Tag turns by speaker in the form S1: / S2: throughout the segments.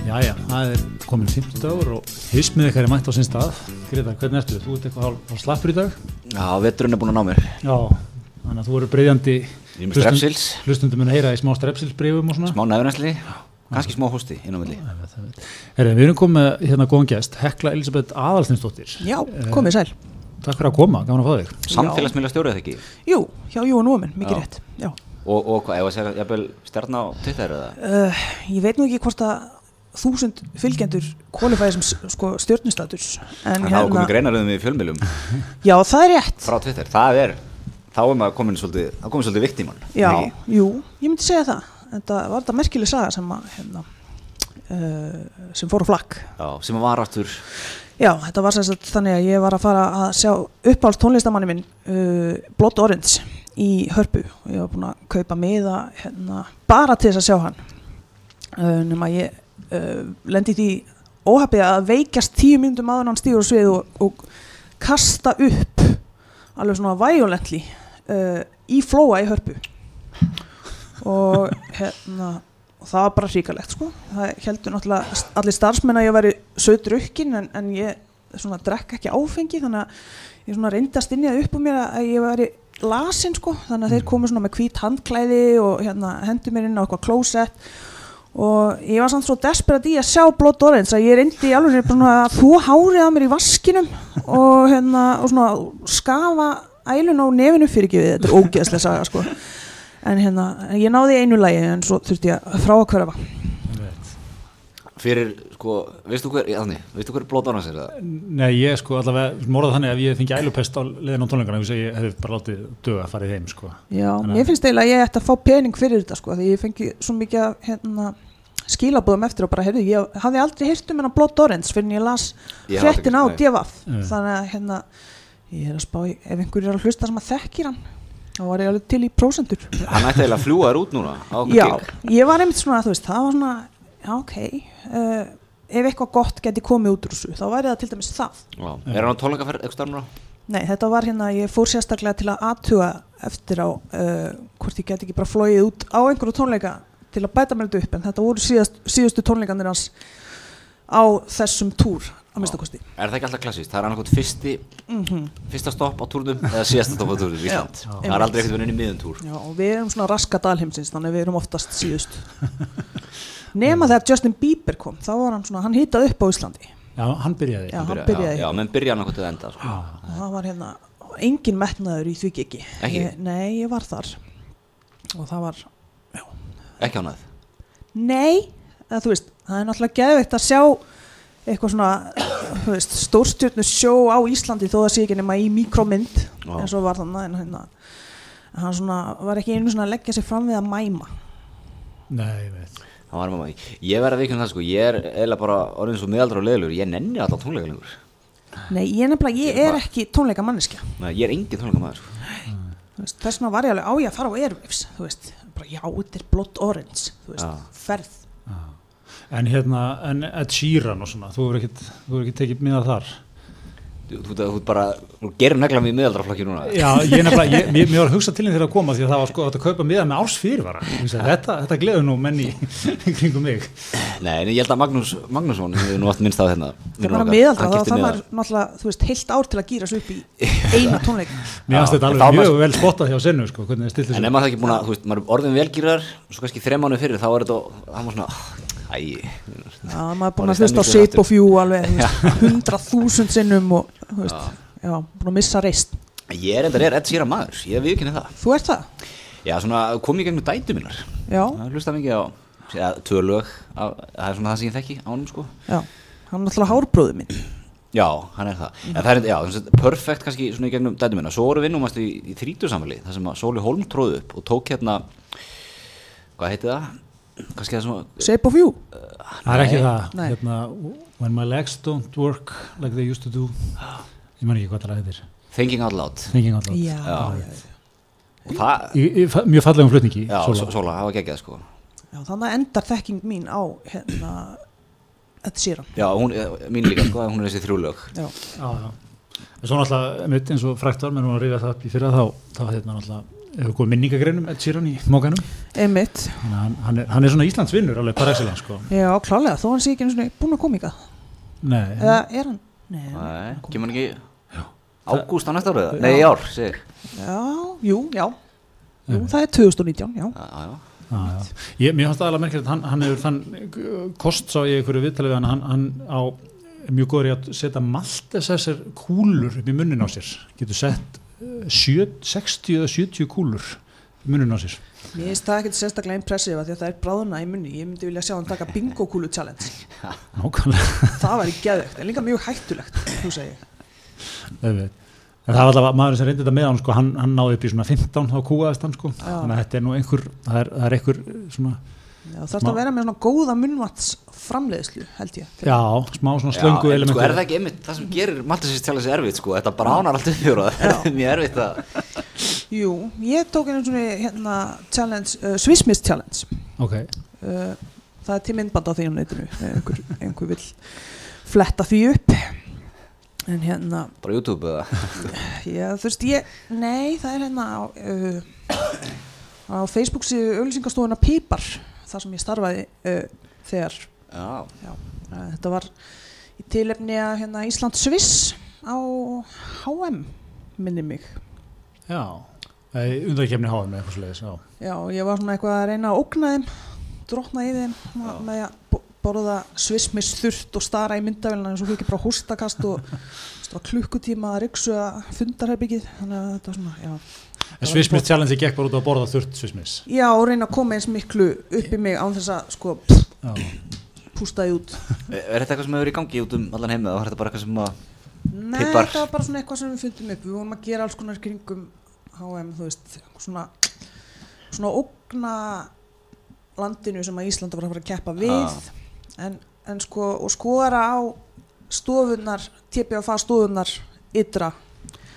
S1: það er komin 15 dagur og hismið ykkar er mætt á sinn stað Greta, hvernig ertu? Þú ert eitthvað hálf, hálf slappur í dag
S2: Já, veturinn er búin að ná mér.
S1: Já, þannig að þú eru breyðjandi
S2: Ég er með strepsils,
S1: Hlustundum mun að heyra í smá strepsilsbreyfum og svona
S2: smá næfnæsli, kannski smá hósti inn á milli.
S1: Herri, við erum komið með, hérna góðan gest Hekla Elisabeth Aðalstinsdóttir
S3: Já, komið sæl.
S1: Takk fyrir að koma, gaman að fá þig
S2: Samfélagsmiðla stjórið ekki.
S3: Jú, hjá Jóhann Ómin, mikið
S2: Já.
S3: rétt. Já.
S2: Og, og hvað, ef að segja, jafnvel stjarn á Twitter eða?
S3: Uh, ég veit nú ekki hvort að þúsund fylgjendur kvalifæði sem s- sko, stjórnustatus.
S2: En það
S3: hérna-
S2: hafa komið greinaröðum í fjölmjölum
S3: Já, það er rétt.
S2: frá Twitter. Það er, þá er maður komin svolítið, þá er komin svolítið viktíman.
S3: Já, jú, ég myndi segja það. Þetta var þetta merkileg saga sem, að, hérna, uh, sem fór á flakk.
S2: Já, sem að var aftur,
S3: Já, þetta var sem sagt þannig að ég var að fara að sjá uppáhalds tónlistamanni minn uh, Blood Orange í Hörpu og ég var búin að kaupa miða hérna, bara til þess að sjá hann uh, nema ég uh, lendi í því óhafið að veikjast tíu myndum aður hann stígur á svið og, og kasta upp alveg svona violently uh, í flóa í Hörpu og hérna og það var bara hríkalegt sko það heldur náttúrulega st- allir starfsmenn að ég væri söðdrukkin en, en ég svona drekk ekki áfengi þannig að ég svona reyndast inn í það upp úr mér að- að ég væri lasin sko þannig að þeir komu svona með hvít handklæði og hérna hendur mér inn á eitthvað klósett og ég var samt svo desperat í að sjá Blood Orange að ég reyndi í alveg svona að þú hárið að mér í vaskinum og hérna og svona skafa ælun á nefinu fyrir ekki við þetta er ógeðslega saga sko en hérna, en ég náði einu lægi en svo þurfti ég að frá að hverfa
S2: fyrir, sko, veistu hver, já, þannig, veistu hver blóð annars er það?
S1: Nei, ég sko allavega, morða þannig að ég fengi ælupest á leiðin á tónleikana ég hef bara látið dög að fara í þeim sko.
S3: já,
S1: Þannig að-
S3: mér finnst eiginlega að ég ætti að fá pening fyrir þetta sko, því ég fengi svo mikið af, hérna, skilabóðum eftir og bara heyrðu, ég hafði aldrei heyrt um hennar Blood Orange fyrir en ég las
S2: Ég hafði
S3: fréttin á
S2: ekki- nei.
S3: DVF
S1: Já.
S3: þannig að hérna, ég er að spá í- ef einhver er að hlusta sem að þekkir hann þá var ég alveg til í prósendur
S2: Hann ætti eiginlega að fljúa þér út núna. á okkur
S3: já,
S2: gig.
S3: ég var einmitt svona, þú veist, það var svona já, ok uh, ef eitthvað gott geti komið út úr þessu, þá væri það til dæmis það
S2: Já. Er hann á tónleikaferð eitthvað starf núna?
S3: Nei, þetta var hérna, ég fór sérstaklega til að athuga eftir á uh, hvort ég get ekki bara flóið út á einhverju tónleika til að bæta mér þetta upp en þetta voru síðast, síðustu tónleikandir hans á þessum túr á minnstakosti.
S2: Er það ekki alltaf klassíst? Það er annarkot fyrsti, fyrsta stopp á túrnum eða síðasta stopp á túrnum í Ísland. það er aldrei ekkert verið inn í miðuntúr.
S3: Já, og við erum svona raska dalheimsins, þannig að við erum oftast síðust. Nema þegar Justin Bieber kom, þá var hann svona, hann hýtað upp á Íslandi
S1: Já, hann byrjaði
S3: Já, hann
S2: Byrja-
S3: byrjaði. hérna.
S2: Já, já, menn byrja annarkot að enda. Sko.
S1: Já.
S3: og það var hérna, engin metnaður í því ekki.
S2: Ekki?
S3: Nei, ég var þar og það var
S2: Ekki ánæð.
S3: Nei, eða, þú veist, það er náttúrulega geðveikt að sjá eitthvað svona þú veist, stórstjörnu sjó á Íslandi þó það sé ekki nema í mikromynd
S2: Já.
S3: en svo var þannig en hérna, hann svona, var ekki einu svona að leggja sig fram við að mæma
S1: Nei, ég veit
S2: Það var mamma. Ég verð að vikna það sko. Ég er eiginlega bara orðin svo miðaldra og leðilur. Ég nenni alltaf tónleika lengur.
S3: Nei, ég nefnilega, ég er ekki tónleika manneskja
S2: Nei, ég er engin tónleika maður. Sko.
S3: veist, þess vegna var ég alveg á ég að fara á Airwaves þú veist, bara já, þetta er blott orange þú veist,
S2: Já.
S3: ferð
S1: En hérna, en Ed Sheeran og svona, þú hefur ekkert, þú hefur ekkert tekið miða þar.
S2: Þú, þú, þú, þú bara, þú gerir negla mig í miðaldraflokki núna.
S1: Já, ég nefnilega, ég, mér, mér var hugsað til henni þegar að koma því að það var sko hægt að kaupa miða með árs fyrirvara. Ég Hugsa, þetta, þetta gleður nú menni í kringum mig.
S2: Nei, en ég held að Magnús, Magnússon hefur nú allt minnst á hérna. þetta.
S3: það er bara miðaldra, þá það var náttúrulega, þú veist, heilt ár til að gýra svo upp í eina tónleika
S1: Mér
S2: Já,
S1: finnst þetta
S2: en
S1: alveg
S2: þá
S1: mjög
S2: maður-
S1: vel spottað hjá sennu, sko, hvernig það stilti
S2: En ef
S1: sig.
S2: maður það ekki búin að, þú veist, maður er orðin velgýrar, svo kannski þrem mánu fyrir, þá er þetta, það var svona, æ,
S3: Já, maður er búin að
S2: Orðið
S3: hlusta á
S2: stemning fyrir
S3: Shape of You alveg hundra þúsund sinnum og þú veist, já, búin að missa reist
S2: Ég er endar er Ed Sheeran maður, ég viðkynni það.
S3: Þú ert það?
S2: Já, svona kom ég gegnum dætu mínar.
S3: Já,
S2: Það hlusta mikið á ja, tölög, á, það er svona það sem ég þekki á honum sko.
S3: já, hann er náttúrulega hárbróðu minn
S2: Já, hann er það. En það er, já, þess að perfekt kannski svona í gegnum dætu mínar. Svo voru við númast í, í þrítusamfæli, þar sem að Sóli Holm tróði upp og tók hérna, hvað heiti það? Kannski það svona,
S3: Shape of You,
S1: Það er ekki það,
S3: Nei.
S1: hérna, when my legs don't work like they used to do. Ég man ekki hvað það heitir.
S2: Thinking Out Loud.
S1: Thinking out loud.
S3: já, já,
S2: Og það,
S1: Í, í, fa- mjög fallegum flutningi,
S2: já,
S1: Sóla.
S2: Sóla, það var geggjað sko.
S3: já, þannig að endar þekking mín á hérna, þetta sér hann
S2: Já, hún, eh, mín líka sko, hún er þessi þrjúlög.
S3: Já,
S1: Já, já. En svo náttúrulega, einmitt eins og frækt var, menn hún að reyða það upp í fyrra þá, þá hérna náttúrulega hefur komið minningagreinum Ed Sheeran í mókanum
S3: einmitt,
S1: Þannig að hann, hann, er, hann er svona Íslands vinnur alveg bara excellent sko
S3: já klálega þó hann sé ekki einu sinni búin að koma í gað
S1: Nei,
S3: eða er hann? Nei,
S2: Nei, kemur hann ekki Ágúst á næsta árið? Nei, í ár, segir
S3: já, jú, já jú, það er 2019, já
S2: Já, já, já.
S1: Já, já. Ég, mér fannst aðalega merkilegt að hann, hann hefur þann uh, kost sá ég í einhverju viðtalið við hann, hann, hann á er mjög góður í að setja maltesessar kúlur upp í munnin á sér getur sett uh, sjö, 60 eða 70 kúlur í munnin á sér
S3: Mér finnst það ekkert sérstaklega impressive að því að það er bráðuna í munni, ég myndi vilja sjá hann taka bingo kúlu challenge,
S1: Nákvæmlega
S3: það væri geðvegt, en líka mjög hættulegt, þú segir.
S1: auðvitað. En það var alltaf maðurinn sem reyndi þetta með hann sko, hann, hann náði upp í svona 15 þá kúaðist hann sko þannig að þetta er nú einhver það er, það er einhver uh, svona
S3: Já, það þarf að vera með svona góða munnvats framleiðslu, held ég. fyrir-
S1: já, smá svona slöngu
S2: en
S1: element
S2: sko, er það ekki einmitt það sem gerir Mattisins tjálega sér erfitt sko, þetta bránar allt upp yfir og það er mjög erfitt að
S3: Jú, ég tók einu svona hérna challenge, uh, Swissmiss challenge,
S1: ok,
S3: uh, það er til myndband á því á neytinu, einhver, einhver vill fletta því upp, en hérna,
S2: bara YouTube eða
S3: Já, þú veist, ég, nei, það er hérna á, uh, á Facebook síðu auðlýsingastofuna Pípar, þar sem ég starfaði uh, þegar,
S2: Já,
S3: já, uh, þetta var í tilefni að hérna Ísland Sviss á HM, minni mig.
S1: já undarkemni háðum eða eitthvað sliðis, já
S3: Já, og ég var svona eitthvað að reyna að ógna þeim, drotna í þeim, svona,
S2: Já.
S3: með að bo- borða Sviss með þurft og stara í myndavélina eins og fyrir ekki bara hóstakast og þú veist, það var klukkutíma að ryksu að fundarherbyggið, þannig að þetta var svona, já.
S1: En Svismis challenge gekk bara út á að borða þurrt Svismis
S3: Já, og reyna að koma eins miklu upp í mig án þess að sko pff, pústa því út.
S2: er þetta eitthvað sem hefur verið í gangi út um allan heim eða var þetta bara eitthvað sem að
S3: Nei,
S2: Pipar.
S3: þetta var bara svona eitthvað sem við fundum upp. Við vorum að gera alls konar kringum HM, þú veist, svona, svona ógna landinu sem að Íslanda var að fara að keppa við. En, en sko, og skora á stofunar, tépja og fara stofunar ytra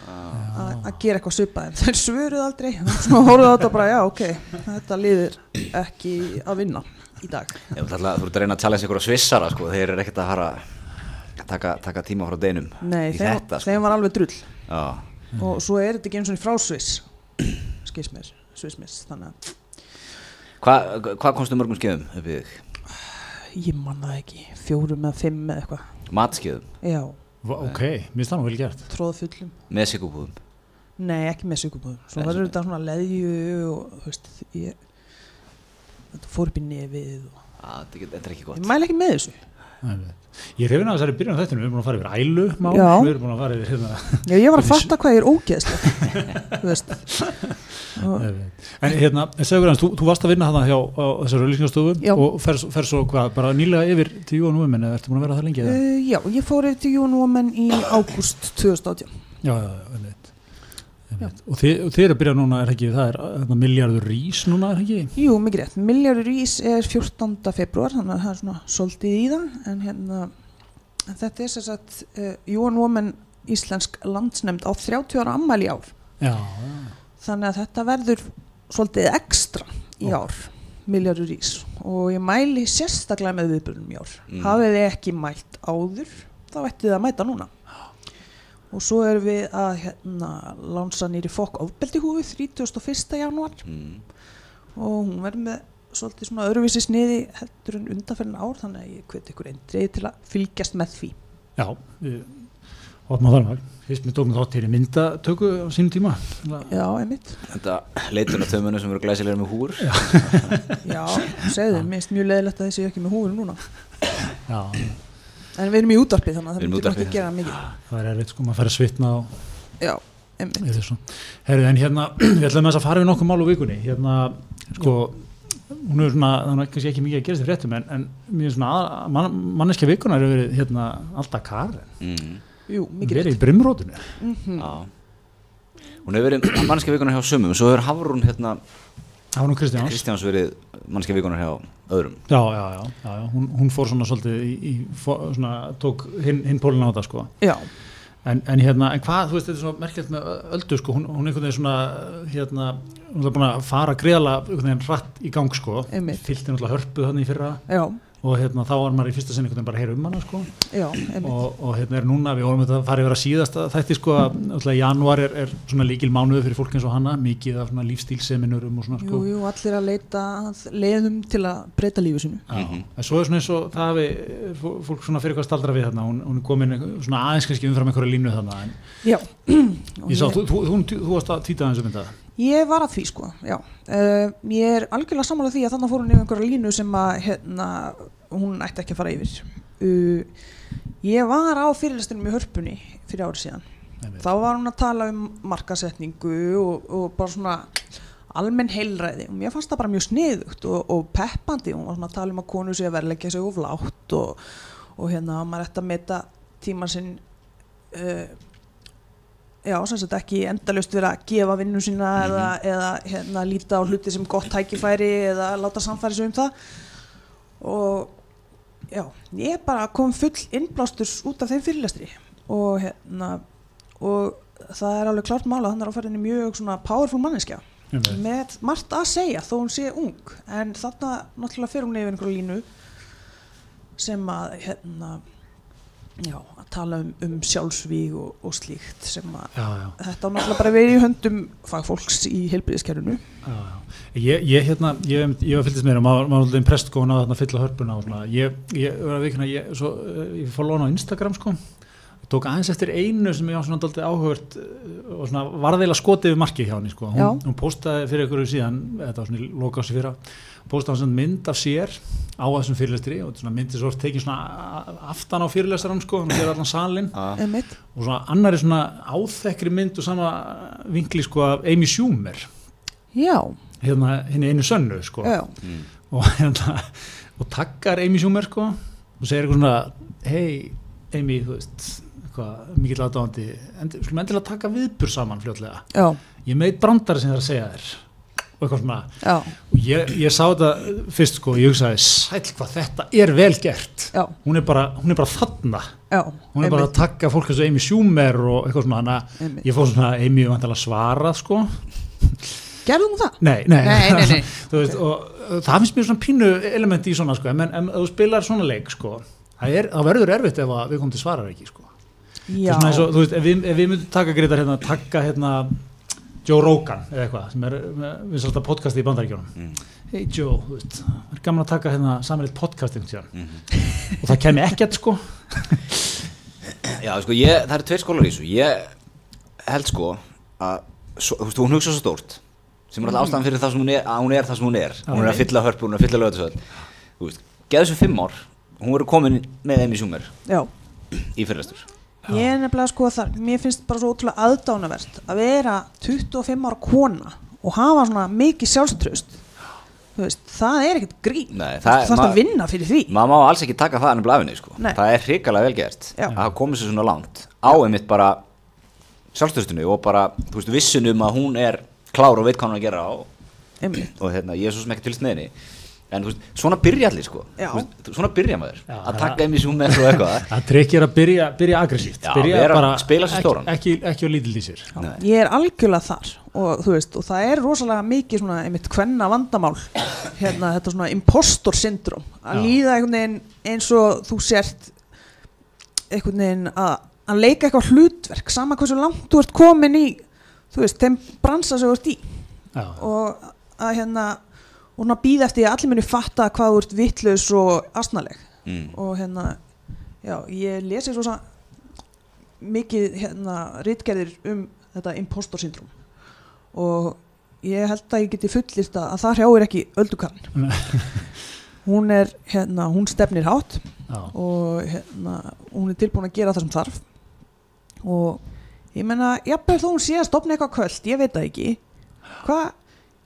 S3: að að gera eitthvað svipað en þeir svöruð aldrei og horfðu á þetta bara, já, ok, þetta liðir ekki að vinna í dag
S2: Ég ætla alltaf að þú ert að reyna að tala eins einhverja svissara sko, þeir eru ekkert að fara að taka, taka tíma frá deinum
S3: Nei,
S2: í
S3: þeim,
S2: þetta sko.
S3: þeim var alveg drull
S2: Já,
S3: og svo er þetta ekki eins og frá Sviss skils mér, Sviss mér þannig
S2: hvað hva komstu mörgum skeiðum upp í þig?
S3: að ég manna það ekki, fjórum eða fimm eða eitthvað
S2: Matskeiðum,
S3: já,
S1: Ok, mér finnst það nú vel gert
S3: tróðfullum
S2: með sigurkúðum
S3: nei, ekki með sykubúðum svo
S2: Nei,
S3: verður
S2: sem-
S3: þetta svona leðju og þú veist, ég þetta fór upp í nefið og
S2: Þetta er ekki- þetta er ekki
S3: ég
S2: gott
S3: mæla ekki með þessu
S1: Ég reyfin að þessari byrjun á þættinu, við erum búin að fara yfir ælu mál,
S3: Já.
S1: við erum búin að fara yfir hérna,
S3: já, ég var að fatta hvað ég er ógeðslega þú veist og,
S1: en hérna, segur hans, þú, þú varst að vinna þarna hjá á þessari
S3: Já.
S1: auðlýsingastofu og fer, fer svo hvað, bara nýlega yfir til Jón Women eða ertu búin að vera það lengi eða?
S3: uh, já, ég fór yfir til Jón Woman í ágúst 2018
S1: Já, já, já, einmitt. Einmitt. Og, þið, og þið er að byrja núna, er ekki, það er hérna, miljardur rís núna, er ekki?
S3: Jú, mikið rétt. Miljardur ís er 14. februar, þannig að það er svona soldið í það, en hérna, en þetta er sér sagt uh, UN Women Íslensk landsnefnd á 30 ára ammæli ár,
S1: Já, já,
S3: þannig að þetta verður soldið ekstra í
S1: Ó.
S3: ár, miljardur ís, og ég mæli sérstaklega með viðbjörnum í ár.
S2: Mm.
S3: Hafið þið ekki mælt áður, þá ættið þið að mæta núna. Og svo erum við að hérna, lánsa nýri fokk ofbeldi húfið 31. janúar
S2: mm.
S3: og hún verður með svolítið svona öðruvísi sniði heldur en undanferðin ár þannig að ég hveti ykkur einn dreig til að fylgjast með því
S1: já, við, Otmar Þarmar, fyrst með dóknum þátt hér í myndatöku á sínum tíma.
S3: Já, einmitt
S2: Þetta leitur á tömunu sem eru glæsilegur með húr
S3: Já, segðu, mér finnst mjög leðilegt að þessi er ekki með húfur núna
S1: Já,
S3: En við erum í útvarpi þannig
S2: Við
S3: að það
S2: erum í
S3: myndum ekki
S2: útvarpi.
S3: gera mikið
S1: það er erfitt sko, maður fær að svitna á
S3: Já, einmitt
S1: yfir þessu. Herru, en hérna, við ætlum þess að fara við nokkuð mál úr vikunni, hérna, sko, hún er svona, það er kannski ekki mikið að gerast í fréttum, en, en mér er svona, að- man, manneskja vikuna eru verið, hérna, alltaf Karen,
S2: mm.
S3: Jú, mikið
S1: verið í brimrótunni.
S2: Já Hún hefur verið mannskja vikunar hjá sumum Svo hefur Hafrún hérna
S1: Það var nú Kristjáns.
S2: Kristjáns verið mannskja vikunar hjá öðrum
S1: Já, já, já, já, já. Hún, hún fór svona svolítið í, í fó- svona, tók hinn hin pólinn á þetta, sko.
S3: Já,
S1: En, en hérna, en hvað, þú veist, þetta er svona merkjöld með öldu, sko, hún, hún einhvern veginn svona, hérna, hún er búin að fara greiðala einhvern veginn hratt í gang, sko,
S3: Einmitt.
S1: fyllti náttúrulega hörpuð þannig í fyrra
S3: já,
S1: og og hérna, þá var maður í fyrsta sinni einhvern veginn bara að heyra um hana sko.
S3: já, einmitt,
S1: og, og hérna er núna, við vorum þetta að fara yfir að síðast þætti sko að alltaf januar er, er svona líkil mánuðu fyrir fólk eins og hana mikið af svona lífstílseminurum og svona sko
S3: jú, jú, allir að leita að leiðum til að breyta lífu sinu
S1: Já, en svo er svona eins og það hafi eh, fó- fólk svona fyrir hvað staldra við þarna hún, hún er komin svona aðeins kannski umfram einhverja línu þarna en
S3: já, Og
S1: ég sá, þú, þú, þú, þú, þú varst að týta aðeins um þetta
S3: Ég var að því sko, já. Uh, ég er algjörlega sammála því að þannig fór hún yfir einhverja línu sem að hérna, hún ætti ekki að fara yfir. Uh, ég var á fyrirlestunum í Hörpunni fyrir árið síðan.
S1: Einmitt.
S3: Þá var hún að tala um markasetningu og, og bara svona almenn heilræði og mér fannst það bara mjög sniðugt og, og peppandi, hún var svona að tala um að konu sé að verleggja sig of látt og, og hérna að maður ætti að meta tíman sinn uh, já, sem sagt ekki endalust vera að gefa vinnu sína eða, eða hérna, líta á hluti sem gott tækifæri eða láta samfæri sig um það og já, ég bara kom full innblásturs út af þeim fyrirlestri og hérna og það er alveg klart mála þannig er á ferðinni mjög svona powerful manneskja
S1: Einmitt.
S3: með margt að segja þó hún sé ung en þarna náttúrulega fer hún yfir einhverju línu sem að hérna já, að tala um, um sjálfsvíg og, og slíkt sem að
S1: já, já,
S3: þetta á náttúrulega bara verið í höndum fagfólks í heilbriðiskerfinu
S1: já, já. Ég, ég hérna, ég, hef- ég var fylgist meira maður maður alltaf prest sko hún á þarna fylla hörpuna og svona ég, ég var að vikna, ég, svo eh, ég fór lóna á Instagram sko Ég tók aðeins eftir einu sem ég var svona daldið áhugvert eh, og svona varðeila skotið við markið hjá henni sko.
S3: Já.
S1: Hún, hún postaði fyrir ykkur síðan, þetta var svona í loka árs í fyrra, postaði hann svona mynd af sér á þessum fyrirlestri og svona myndi svo oft tekin svona a- aftan á fyrirlestarann sko, hann sér allan salin
S2: Ah.
S3: einmitt,
S1: og svona annari svona áþekkri mynd og sama vinkli sko af Amy Schumer
S3: já,
S1: hérna henni einu sönnu sko
S3: já
S2: Mm.
S1: og hérna og takkar Amy Schumer sko og segir eitthvað svona hei Amy þú veist eitthvað mikill aðdáðandi endi, skulum endilega taka viðbur saman fljótlega
S3: já,
S1: ég er með eitt brandara sem það er að segja þér og eitthvað svona
S3: já,
S1: og ég, ég sá þetta fyrst sko ég hugsaði sæll hvað þetta er vel gert
S3: já,
S1: hún er bara, hún er bara þarna
S3: já
S1: hún er bara að takka fólk eins og Amy Schumer og eitthvað svona hana
S3: Einmitt.
S1: ég fór svona Amy vantilega svarað sko
S3: gerðum hún það?
S1: Nei, nei,
S3: Nei, nei, nei.
S1: Þú veist, og uh, það finnst mér svona pínu elementi í svona sko, en, en ef þú spilar svona leik sko, það, er, það verður erfitt ef að við komum til svarar ekki sko. Það
S3: já,
S1: er svona eins og, þú veist, ef við, ef við myndum taka greitar hérna, taka hérna Joe Rogan eða eitthvað, sem er við svolítið að podcasti í bandaríkjónum
S2: Mm.
S1: Hey Joe, þú veist, það er gaman að taka hérna samanleitt podcast einhvern tíðan
S2: Mhm.
S1: og það kemur ekkert sko
S2: Já, sko, ég, það eru tveir skólar í þessu Ég held sko að svo, þú veist, hún hugsa svo stórt sem er alltaf ástæðan fyrir það sem hún er, að hún er það sem hún er hún er að fylla hörpu, hún er að fylla lögatisöld Þú veist, geðu þessu fimm ár hún verður komin með þeim í sjúmer
S3: já
S2: í fyrirlestur
S3: ég er nefnilega sko það, mér finnst bara svo ótrúlega aðdánavert að vera 25 ára kona og hafa svona mikið sjálfströst þú veist, það er ekkert grín
S2: Nei,
S3: það
S2: það-
S3: er
S2: ma-
S3: að vinna fyrir því
S2: maður má alls ekki taka það ennum blafinni sko.
S3: Nei.
S2: það er hrikalega velgert
S3: Já.
S2: að það komið sér svona langt á einmitt bara sjálfstöðstunni og bara þú veist, vissun um að hún er klár og veit hvað hún er að gera og,
S3: einmitt,
S2: og hérna, ég er svo sem ekki tilst neðinni en þú veist, svona byrja allir sko
S3: Já.
S2: Þú veist, svona byrja maður
S1: Já,
S2: að
S1: það-
S2: taka einmitt sem hún er svo eitthvað
S1: Það tryggir að byrja, byrja aggressíft
S2: Já,
S1: byrja
S2: vera-
S1: bara,
S2: spila sig
S1: ekki-
S2: stóran.
S1: ekki, ekki á lítill í sér
S2: Nei.
S3: ég er algjörlega þar og þú veist, og það er rosalega mikið svona einmitt kvenna vandamál hérna þetta svona impostor syndrom
S1: Já.
S3: að líða einhvern veginn eins og þú sért einhvern veginn að, að leika eitthvað hlutverk sama hversu langt þú ert komin í þú veist, þeim bransa sem þú ert í
S1: Já,
S3: og að hérna og svona býða eftir að allir minni fatta hvað þú ert vittlaus og astnaleg
S2: mm.
S3: og hérna já, ég lesi svo sa- mikið hérna rítgerðir um þetta impostor syndrom og ég held að ég geti fullist að, að það hrjáir ekki öldukarn
S1: Nei.
S3: hún er hérna, hún stefnir hátt
S1: já,
S3: og hérna, hún er tilbúin að gera það sem þarf og ég menna, jafnveg þó hún sé að stopna eitthvað kvöld, ég veit það ekki hvað,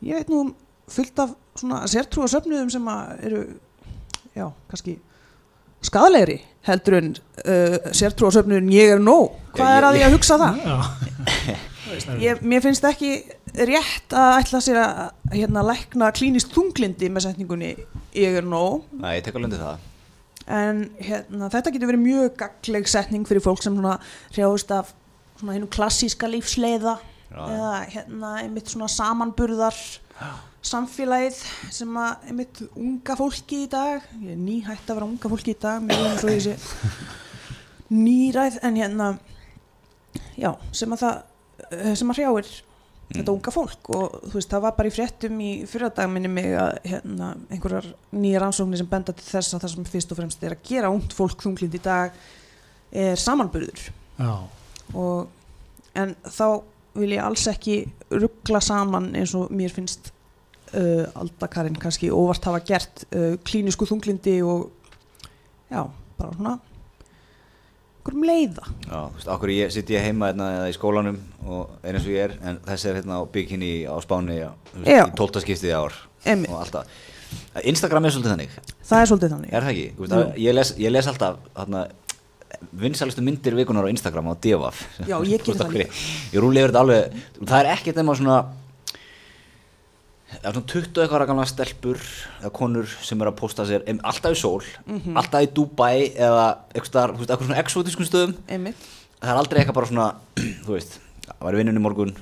S3: ég veit nú um fullt af svona sértrúa söfnuðum sem að eru, já, kannski skadalegri heldur en uh, sértrúa söfnuðun ég er nóg, hvað
S2: Já,
S3: er að
S2: ég-
S3: ég að hugsa það?
S1: já.
S3: Ég, mér finnst ekki rétt að ætla sér að hérna, lækna klínist þunglindi með setningunni ég er nóg
S2: Nei, ég tek alveg undir það
S3: en hérna, þetta getur verið mjög gaggleg setning fyrir fólk sem svona hrjáðist af svona hinnum klassíska lífsleiða
S2: Já.
S3: eða hérna einmitt svona samanburðar samfélagið sem að einmitt unga fólki í dag ég er nýhætt að vera unga fólki í dag mér er svo ég sé nýræð en hérna já, sem að það eh, sem að hrjáir
S2: Mm.
S3: þetta unga fólk og þú veist, það var bara í fréttum í fyrradag minni mig að hérna, einhverjar nýjar rannsóknir sem benda til þess að það sem fyrst og fremst er að gera ungt fólk þunglind í dag er samanburður
S1: já,
S3: og, en þá vil ég alls ekki ruggla saman eins og mér finnst uh, aldakarinn kannski óvart hafa gert uh, klínisku þunglindi og já, bara svona einhverjum leiða
S2: Já, þú veist, okkur ég sitt ég heima hérna, eða í skólanum og er eins og ég er en þessi er hérna á bygginni á Spáni já, þú
S3: Já.
S2: í tóltaskiptið ár
S3: Einmitt.
S2: og alltaf Instagram er svolítið þannig,
S3: það er svolítið þannig
S2: er það ekki? Þú Veist, að, ég, les, ég les alltaf hérna, vinsælustu myndir vikunar á Instagram á Devaf
S3: Já, ég geri það líka.
S2: Ég rúli yfir þetta alveg, það er ekkert nema svona Það er svona 20 eitthvað gamla stelpur eða konur sem eru að posta sér em, alltaf í sól,
S3: Mhm.
S2: alltaf í Dubai eða eitthvað, staðar, þú veist, eitthvað svona exotískum stöðum
S3: einmitt,
S2: það er aldrei eitthvað bara svona þú veist, það var í vinnunni í morgun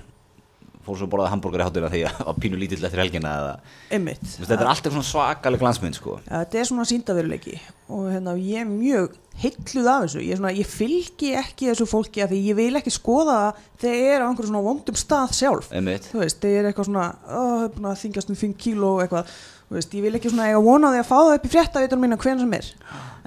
S2: fór svo að borðaði hambúrgar í hátina því að var pínu lítill eftir helgina eða,
S3: einmitt
S2: þú veist, þetta er alltaf svona svakaleg glansmynd sko.
S3: Ja, þetta er svona síndaveruleiki og hérna, ég er mjög heilluð af þessu, ég, er svona, ég fylgi ekki þessu fólki af því ég vil ekki skoða það þegar ég er á einhverjum svona vondum stað sjálf
S2: Einmitt.
S3: þú veist, þegar ég er eitthvað svona "Ó, búin að þingjast um 5 kíló og eitthvað þú veist, ég vil ekki svona eiga vona því að fá það upp í fréttavitunum minna hvenær sem er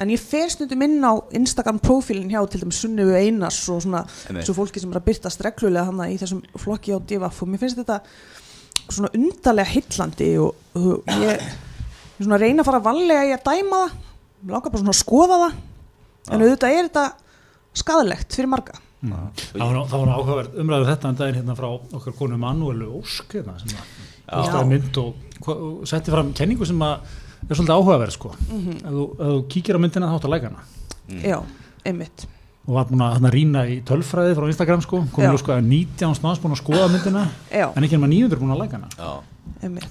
S3: en ég fer stundum inn á Instagram profílinn hjá til dæmis Sunnifu Einars og svona
S2: Einmitt.
S3: þessu fólki sem er að byrta streglulega hann í þessum flokki á divaf og mér finnst þetta svona undarlega hillandi og, og ég, ég svona reyna að fara vallega í að dæma það mér langar bara svona að skoða það en auðvitað er þetta skadalegt fyrir marga
S1: það var, nú- það var áhugaverð umræður þetta en daginn hérna frá okkar konu Manuelu Ósk hérna, sem að postaði mynd og, hva- og setti fram kenningu sem að er svolítið áhugaverð sko
S3: Mhm.
S1: ef, þú, ef þú kíkir á myndina þá áttu að læka hana
S3: já, einmitt
S1: og var búin að hérna, rýna í tölfræði frá Instagram sko,
S3: Já.
S1: komið sko að 19 snáðs búin að skoða myndina
S3: Já.
S1: en ekki en maður 900 búin að læka hana
S2: Já.
S3: einmitt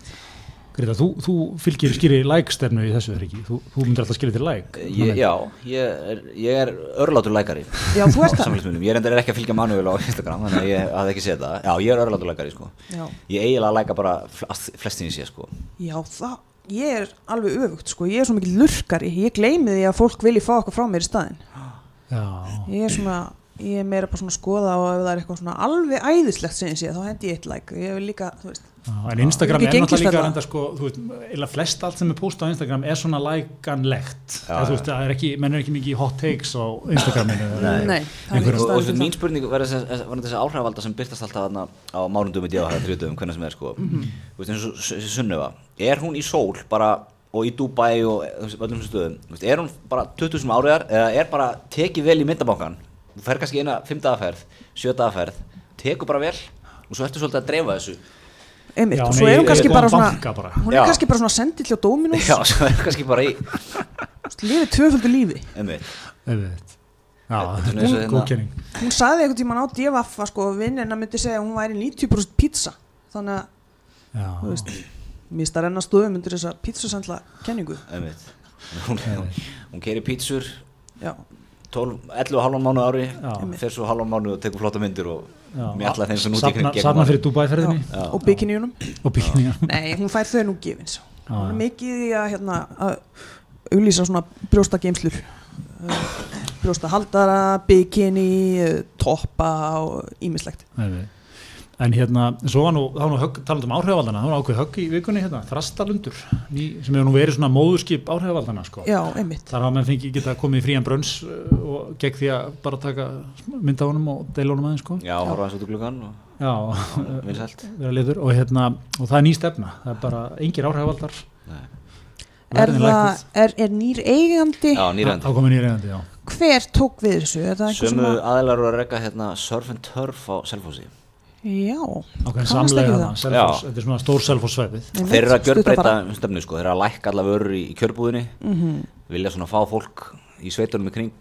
S1: Greta, þú, þú fylgir skýri lækstefnu í þessu er ekki, þú, þú myndir alltaf skýri til læk
S2: Ég, já, ég er, ég er örlátur lækari
S3: Já, þú ert
S2: Á
S3: það.
S2: samfélagsmiðlum. Ég reyndar er ekki að fylgja Manuel á Instagram þannig að ég hafði ekki séð það Já, ég er örlátur lækari sko.
S3: Já.
S2: Ég eiginlega læka bara flest, flestin í sé sko.
S3: Já, það, ég er alveg öfugt sko, ég er svo mikið lurkari, ég gleymi því að fólk vilji fá okkur frá mér í staðinn.
S1: já,
S3: Ég er svona, ég er meira bara svona að skoða og ef það er eitthvað svona alveg æðislegt sem ég sé, þá hendi ég eitt like, ég vil líka, þú veist,
S1: já, en Instagram
S3: Ekki
S1: er náttúrulega líka
S3: gengisfella.
S1: enda, sko, þú veist, eða flest allt sem er postað á Instagram er svona lækanlegt það, þú veist, það er ekki, menn er ekki mikið í hot takes á Instagraminu
S3: nei, það er
S1: Einhver-
S2: og, og
S3: ekki staðið
S2: svona, mín
S3: fyrir það.
S2: spurning var þessi áhrifvalda sem byrtast alltaf þarna á mánundum í díðahæða þriðdöfum, hvernig sem er sko
S3: Mhm.
S2: þú veist eins og S- S- Sunnuva er hún í sól bara og í Dubai og e, þú veist, öllum þessum stöðum Þú veist, er hún bara 20.000 áriðar eða er bara tekið vel í myndabankan þú fer kannski eina 5 dagaferð, 7 dagaferð tekur bara vel og svo ertu svolítið að dreifa þessu
S3: Einmitt,
S1: Já,
S3: og
S1: nei,
S3: svo er hún
S1: ég-
S3: kannski
S1: ég-
S3: bara
S1: ég-
S3: svona,
S1: banka bara.
S3: hún
S2: Já.
S3: er kannski bara svona sendið til á Dominus,
S2: já, svo er kannski bara í
S3: lifið tvöföldu lífi.
S2: einmitt,
S1: Auðvitað. já,
S2: Þetta er
S1: þetta
S2: eins og
S1: er
S2: hérna-
S1: góð kenning
S3: Hún saði einhvern tíman á divaffa sko, vinnina myndi segja að hún væri 90% pizza, þannig að,
S1: já,
S3: þú veist, mista renna stöðum undir þessa pizzasendla kenningu,
S2: einmitt. Hún, hún, hún keiri pítsur
S3: já,
S2: 12, 11 og halvan mánu ári
S1: Já.
S2: fer svo halvan mánu og tekur flotta myndir og
S1: já.
S2: mér allar þeim sem út í
S1: Safna-
S2: kring-
S1: safna fyrir
S3: já.
S1: Dubai-ferðinni
S3: og bikiníunum.
S1: og byggingar
S3: Nei, hún fær þau nú gefins
S1: Já,
S3: Hún er
S1: já.
S3: mikið í að hérna, að auglýsa svona brjósta geimslur brjósta haldara, bikini eh, toppa og ímislegt
S1: Nei, nei. En hérna, svo var nú, þá var nú högg, talað um áhrifavaldana, þá var ákveð högg í vikunni hérna, þrastalundur, ný, sem hefur nú verið svona móðurskip áhrifavaldana, sko.
S3: Já, einmitt
S1: Þar hafa menn fengið geta komið í frían brönns uh, og gegn því að bara taka mynd af honum og deila honum aðeins, sko.
S2: Já, horfa hans út úr gluggan og
S1: Já, eh,
S2: vinsælt
S1: vera liður og hérna, og það er ný stefna, það er bara engir áhrifavaldar.
S2: Nei.
S3: Er,
S1: verðin
S3: það,
S1: lækkuð.
S3: er, er nýr eigandi
S2: Já,
S1: Þá
S2: nýrandi
S1: komið nýr eigandi, já.
S3: Hver tók við þessu? Er það einhver sem
S2: Sömu
S3: að
S2: aðilar eru að rekka hérna Surf and Turf á Selfossi
S3: Já,
S1: Ákveðin
S3: Kannast ekki
S1: samlega
S3: við
S1: þarna,
S3: það.
S1: Selfoss-
S2: Já.
S1: þetta er svona stór selfosvæfið.
S3: einmitt,
S2: Þeir eru að
S3: stutt
S2: gjörbreyta
S3: bara.
S2: stefnu sko, þeir eru að lækka allar vörur í, í kjörbúðinni
S3: Mhm.
S2: vilja svona fá fólk í sveitunum í kring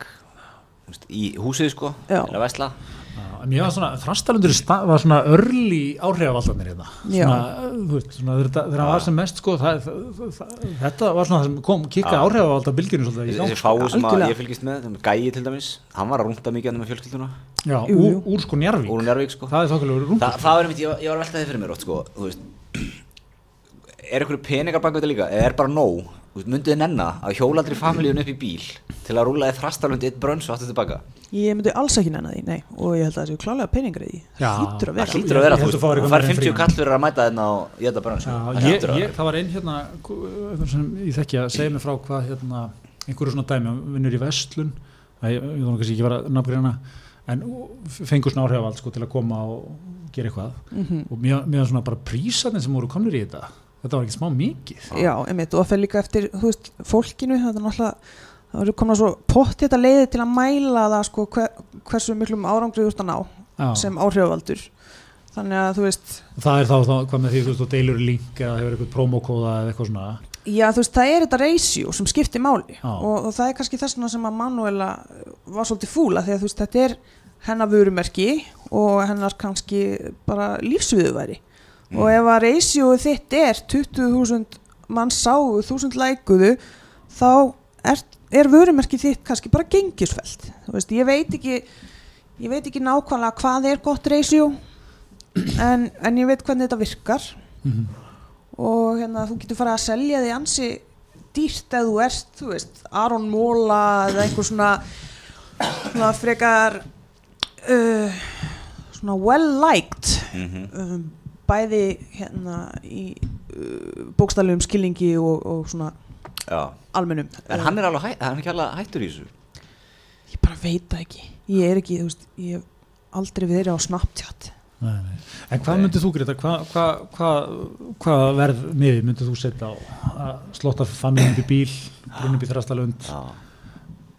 S2: þú veist, í húsið sko,
S3: Já.
S2: til að vesla
S1: Mér var svona, þrastalundur sta- var svona örli áhrifavaldarnir hérna
S3: Já.
S1: svona, þú veist, svona þegar þetta- þegar hann var sem mest sko, það, það, það, þetta var svona það sem kom kikka ja. áhrifavaldabylginu svolítið í gang
S2: Þessi fáu sem að
S3: algjörlega.
S2: ég fylgist með, þeim gæi til dæmis hann var að rúnta mikið hann með fjölskylduna
S1: Já,
S3: Jú,
S1: úr,
S3: jú.
S1: úr sko Njarvík
S2: úr Njárvík sko
S1: Það er þokkilega rúm
S2: Þa, það var einmitt, ég var, ég var að velta því fyrir mér oft sko, þú veist er einhverju peningar baka þetta líka eða er bara nóg, Þú veist, mynduð þið nenna að hjólandri familíun upp í bíl til að rúla þið þrastalund eitt brönns og aftur tilbaka
S3: Ég myndi alls ekki nennan því, nei og ég held að það séu klálega peningur í því
S1: Já,
S3: það hlýtur að
S2: það
S3: vera
S2: hlýtur að vera,
S1: Ég held að
S2: þú veist,
S1: þú fáir
S2: þú
S1: eitthvað
S2: fær
S1: meira en
S2: 50
S1: fríman.
S2: kall fyrir að mæta þarna og ég þetta brönns
S1: Já, ég, ég, það var einn hérna ku- einhver sem ég þekki að segja mig frá hvað hérna, einhverju svona dæmi, hann vinnur í Vestlun það ég, ég þannig að ég var að nafngreina en fengur svona áhrifavald sko, til að koma og gera eitthvað
S3: Mhm.
S1: og mér, mér var svona bara prísarnir sem voru komnir í þetta þetta var ekki smá mikið
S3: Já, einmitt, og það fer líka eftir, þú veist, fólkinu, þetta er náttúrulega, það eru komin að svo pott þetta leiði til að mæla það, sko, hver, hversu miklum árangri þú ert að ná
S1: Já.
S3: sem áhrifaldur. Þannig að, þú veist,
S1: það er þá, þá hvað með því þú veist, þú deilur í link eða hefur eitthvað promokóða eða eitthvað svona
S3: já, þú veist, það er þetta ratio sem skiptir máli
S1: Já.
S3: og, og það er kannski þess vegna sem að Manuela eh, var svolítið fúla, því að, þú veist, þetta er hennar vörumerki og hennar kannski bara lífsviðuværi.
S1: Mm.
S3: Og ef að ratio þitt er 20.000 mann sáu, 1.000 lækuðu, þá er, er vörumerki þitt kannski bara gengisfælt þú veist, ég veit ekki ég veit ekki nákvæmlega hvað er gott ratio en, en ég veit hvernig þetta virkar og hérna þú getur farið að selja því ansi dýrt ef þú ert, þú veist Aron Móla eða einhver svona svona frekar uh, svona well liked um, bæði hérna í uh, bókstæðlegum skilningi og, og svona almennum
S2: en hann er alveg hæ- hann er ekki alveg hættur í þessu
S3: Ég bara veit það ekki. Ég er ekki, þú veist, ég hef aldrei verið á Snapchat.
S1: nei, nei. en hvað myndir þú Greta, hvað hva, hva, hva verð miði myndir þú setja á að slóta familinn upp í bíl brunnum í þrastalund
S2: Já.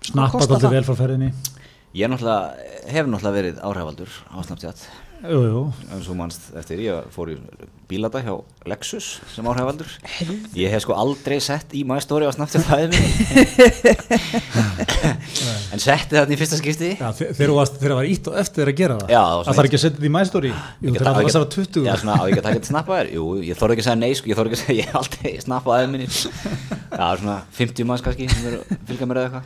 S1: snappa
S3: Kostar
S1: alltaf
S3: það?
S1: vel frá ferðinni
S2: ég náttúrulega, hef náttúrulega verið áhrifaldur á Snapchat
S1: jú, jú.
S2: eins og mannst eftir, ég fór í bílata hjá Lexus sem áhrifaldur
S3: Helviti.
S2: ég hef sko aldrei sett í maður stóri á Snapchat það er mér en setti þarna í fyrsta skipti
S1: Já, þe- þegar þú varst- þegar það var ítt og eftir þér að gera það
S2: Já, það var
S1: að
S2: svona
S1: það er ekki að setja þetta í mæstóri
S2: Ekki-
S1: þegar
S2: á
S1: það
S2: ekki-
S1: var að 20
S2: Já, svona á ekki að taka þetta snappa þér Jú, ég þorði ekki að segja nei, sko, ég þorði ekki að segja ég hef aldrei snappa aðeins minni Já, svona 50 manns kannski sem eru að fylgja mér eða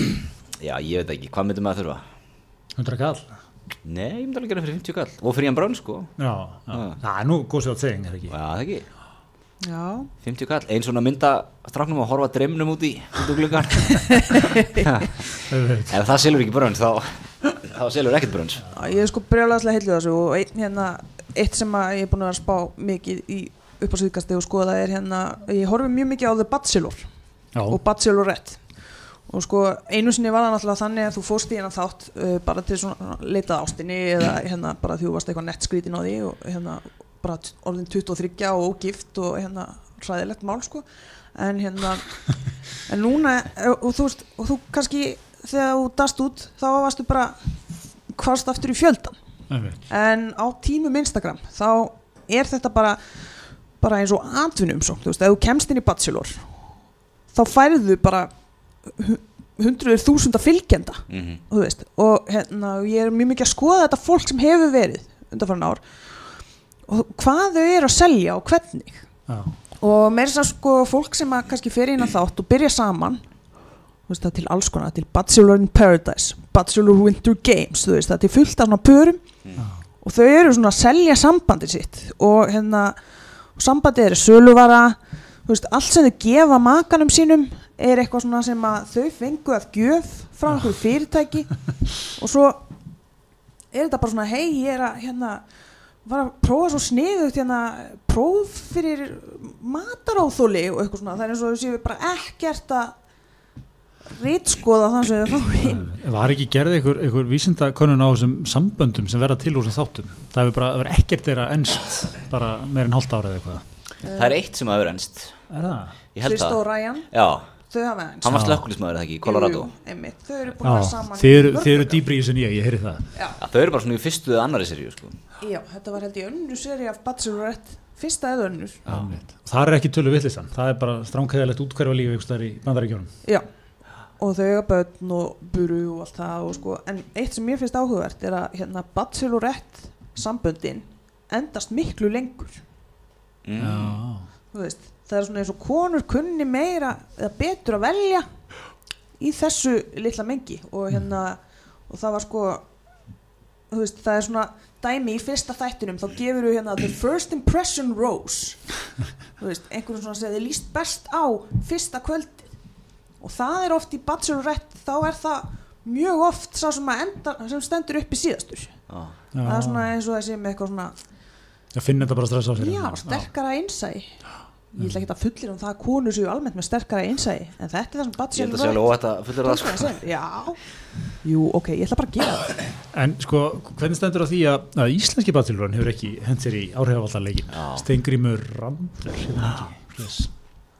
S2: eitthvað Já, ég veit ekki, hvað myndum maður þurfa?
S1: 100 kall
S2: Nei, ég myndi alveg gera fyrir 50 kall Og fyrir hann brönn, sko
S1: já, já. það er nú góðs við að segja er ekki
S2: Já, það ekki
S3: Já.
S2: 50 kall, einn svona mynda stráknum að horfa dreimnum út í út úr gluggan
S1: Auðvitað.
S2: Ef það selur ekki brönns, þá þá selur ekkert brönns
S3: Ég er sko brjálagslega heilluð þessu og einn hérna, eitt sem að ég er búin að vera að spá mikið í upp á síðkasti og skoða er hérna, ég horfi mjög mikið á The Bachelor
S1: Já.
S3: og Bachelorette og sko einu sinni var það náttúrulega þannig að þú fórst í hérna þátt uh, bara til svona leitað ástinni eða hérna bara því þú varst eitthvað nettskrítin á því og hérna bara t- orðin 23 og ógift og hérna hræðilegt mál sko en hérna en núna eh, og þú veist og þú kannski þegar þú dast út þá varstu bara hvarst aftur í fjöldan
S1: Einmitt.
S3: en á tímum Instagram þá er þetta bara bara eins og atvinnum þú veist, ef þú kemst inn í bachelor þá færðu bara hundruður þúsunda fylgjenda
S2: mm
S3: þú veist, og hérna og ég er mjög mikið að skoða þetta fólk sem hefur verið undanfarn ár og hvað þau eru að selja og hvernig
S1: Já.
S3: og meira þess að segja, sko fólk sem að kannski fer inn að þátt og byrja saman þú veist það er til alls konar, til Bachelor in Paradise Bachelor Winter Games, þú veist það er til fullt af svona pörum og þau eru svona að selja sambandi sitt og hérna og sambandi eru söluvara þú veist, allt sem þau gefa makanum sínum er eitthvað svona sem að þau fengu að gjöf frá einhverju fyrirtæki og svo er þetta bara svona hei ég er að hérna var að prófa svo sniðugt hérna próf fyrir mataráþóli og eitthvað svona, það er eins og þau séu bara ekkert að rítskoða þann sem þau fá inn
S1: var ekki gerði einhver, einhver vísindakönnun á þessum samböndum sem verða til úr þessum þáttum það hefur bara það hefur ekkert þeirra ennst bara meir en hálft ára eða eitthvað
S2: Það er eitt sem að vera ennst
S1: er það?
S2: Ég held
S3: Kristó og
S2: það
S3: Ryan,
S2: Já,
S3: þau hafa eins
S2: hann var slökkulismæður ekki, í Colorado
S3: Jú, einmitt, þau eru búin að vera
S1: Já,
S3: saman
S1: þið eru,
S3: í mörg
S1: þið eru
S3: ár.
S1: dýbri í þessu nýja, ég heyri það
S3: já,
S2: Já, þau eru bara svona í fyrstu eða annari seríu sko.
S3: já, þetta var held ég önnur seri af Bachelorette, fyrsta eða önnur
S1: Einmitt. það er ekki tölu vittlistan, það er bara stránkæðilegt útkverfa lífi ykkur staðar í bandaríkjónum
S3: Já, og þau eiga börn og buru og allt það og sko, en eitt sem mér finnst áhugavert er að hérna, bachelorette samböndin endast miklu lengur,
S2: mm.
S1: Já.
S3: þú veist, það er svona eins og konur kunni meira eða betur að velja í þessu litla mengi og hérna, og það var sko þú veist, það er svona dæmi í fyrsta þættinum, þá gefur við hérna the first impression rose þú veist, einhverjum svona segði líst best á fyrsta kvöldi og það er oft í bachelorette þá er það mjög oft sá sem, að enda, sem stendur upp í síðastur
S2: Já.
S1: Ah.
S3: það er svona eins og það sé með eitthvað svona
S1: Ég finn þetta bara stress á sér
S3: Já, sterkara innsæi Ég ætla ekki að fullir um það að konur séu almennt með sterkara innsæi en þetta er það
S2: Ég
S3: sem
S2: held
S3: Bachelor
S2: að sé alveg óætt að fullur það sko.
S3: segja Já, jú, ok, ég ætla bara að gera það
S1: En sko, hvernig stendur á því að, að íslenski batilurinn hefur ekki hent sér í áhrifavaldaleggin
S2: Já.
S1: Steingrímur Randur hérna ekki. Yes.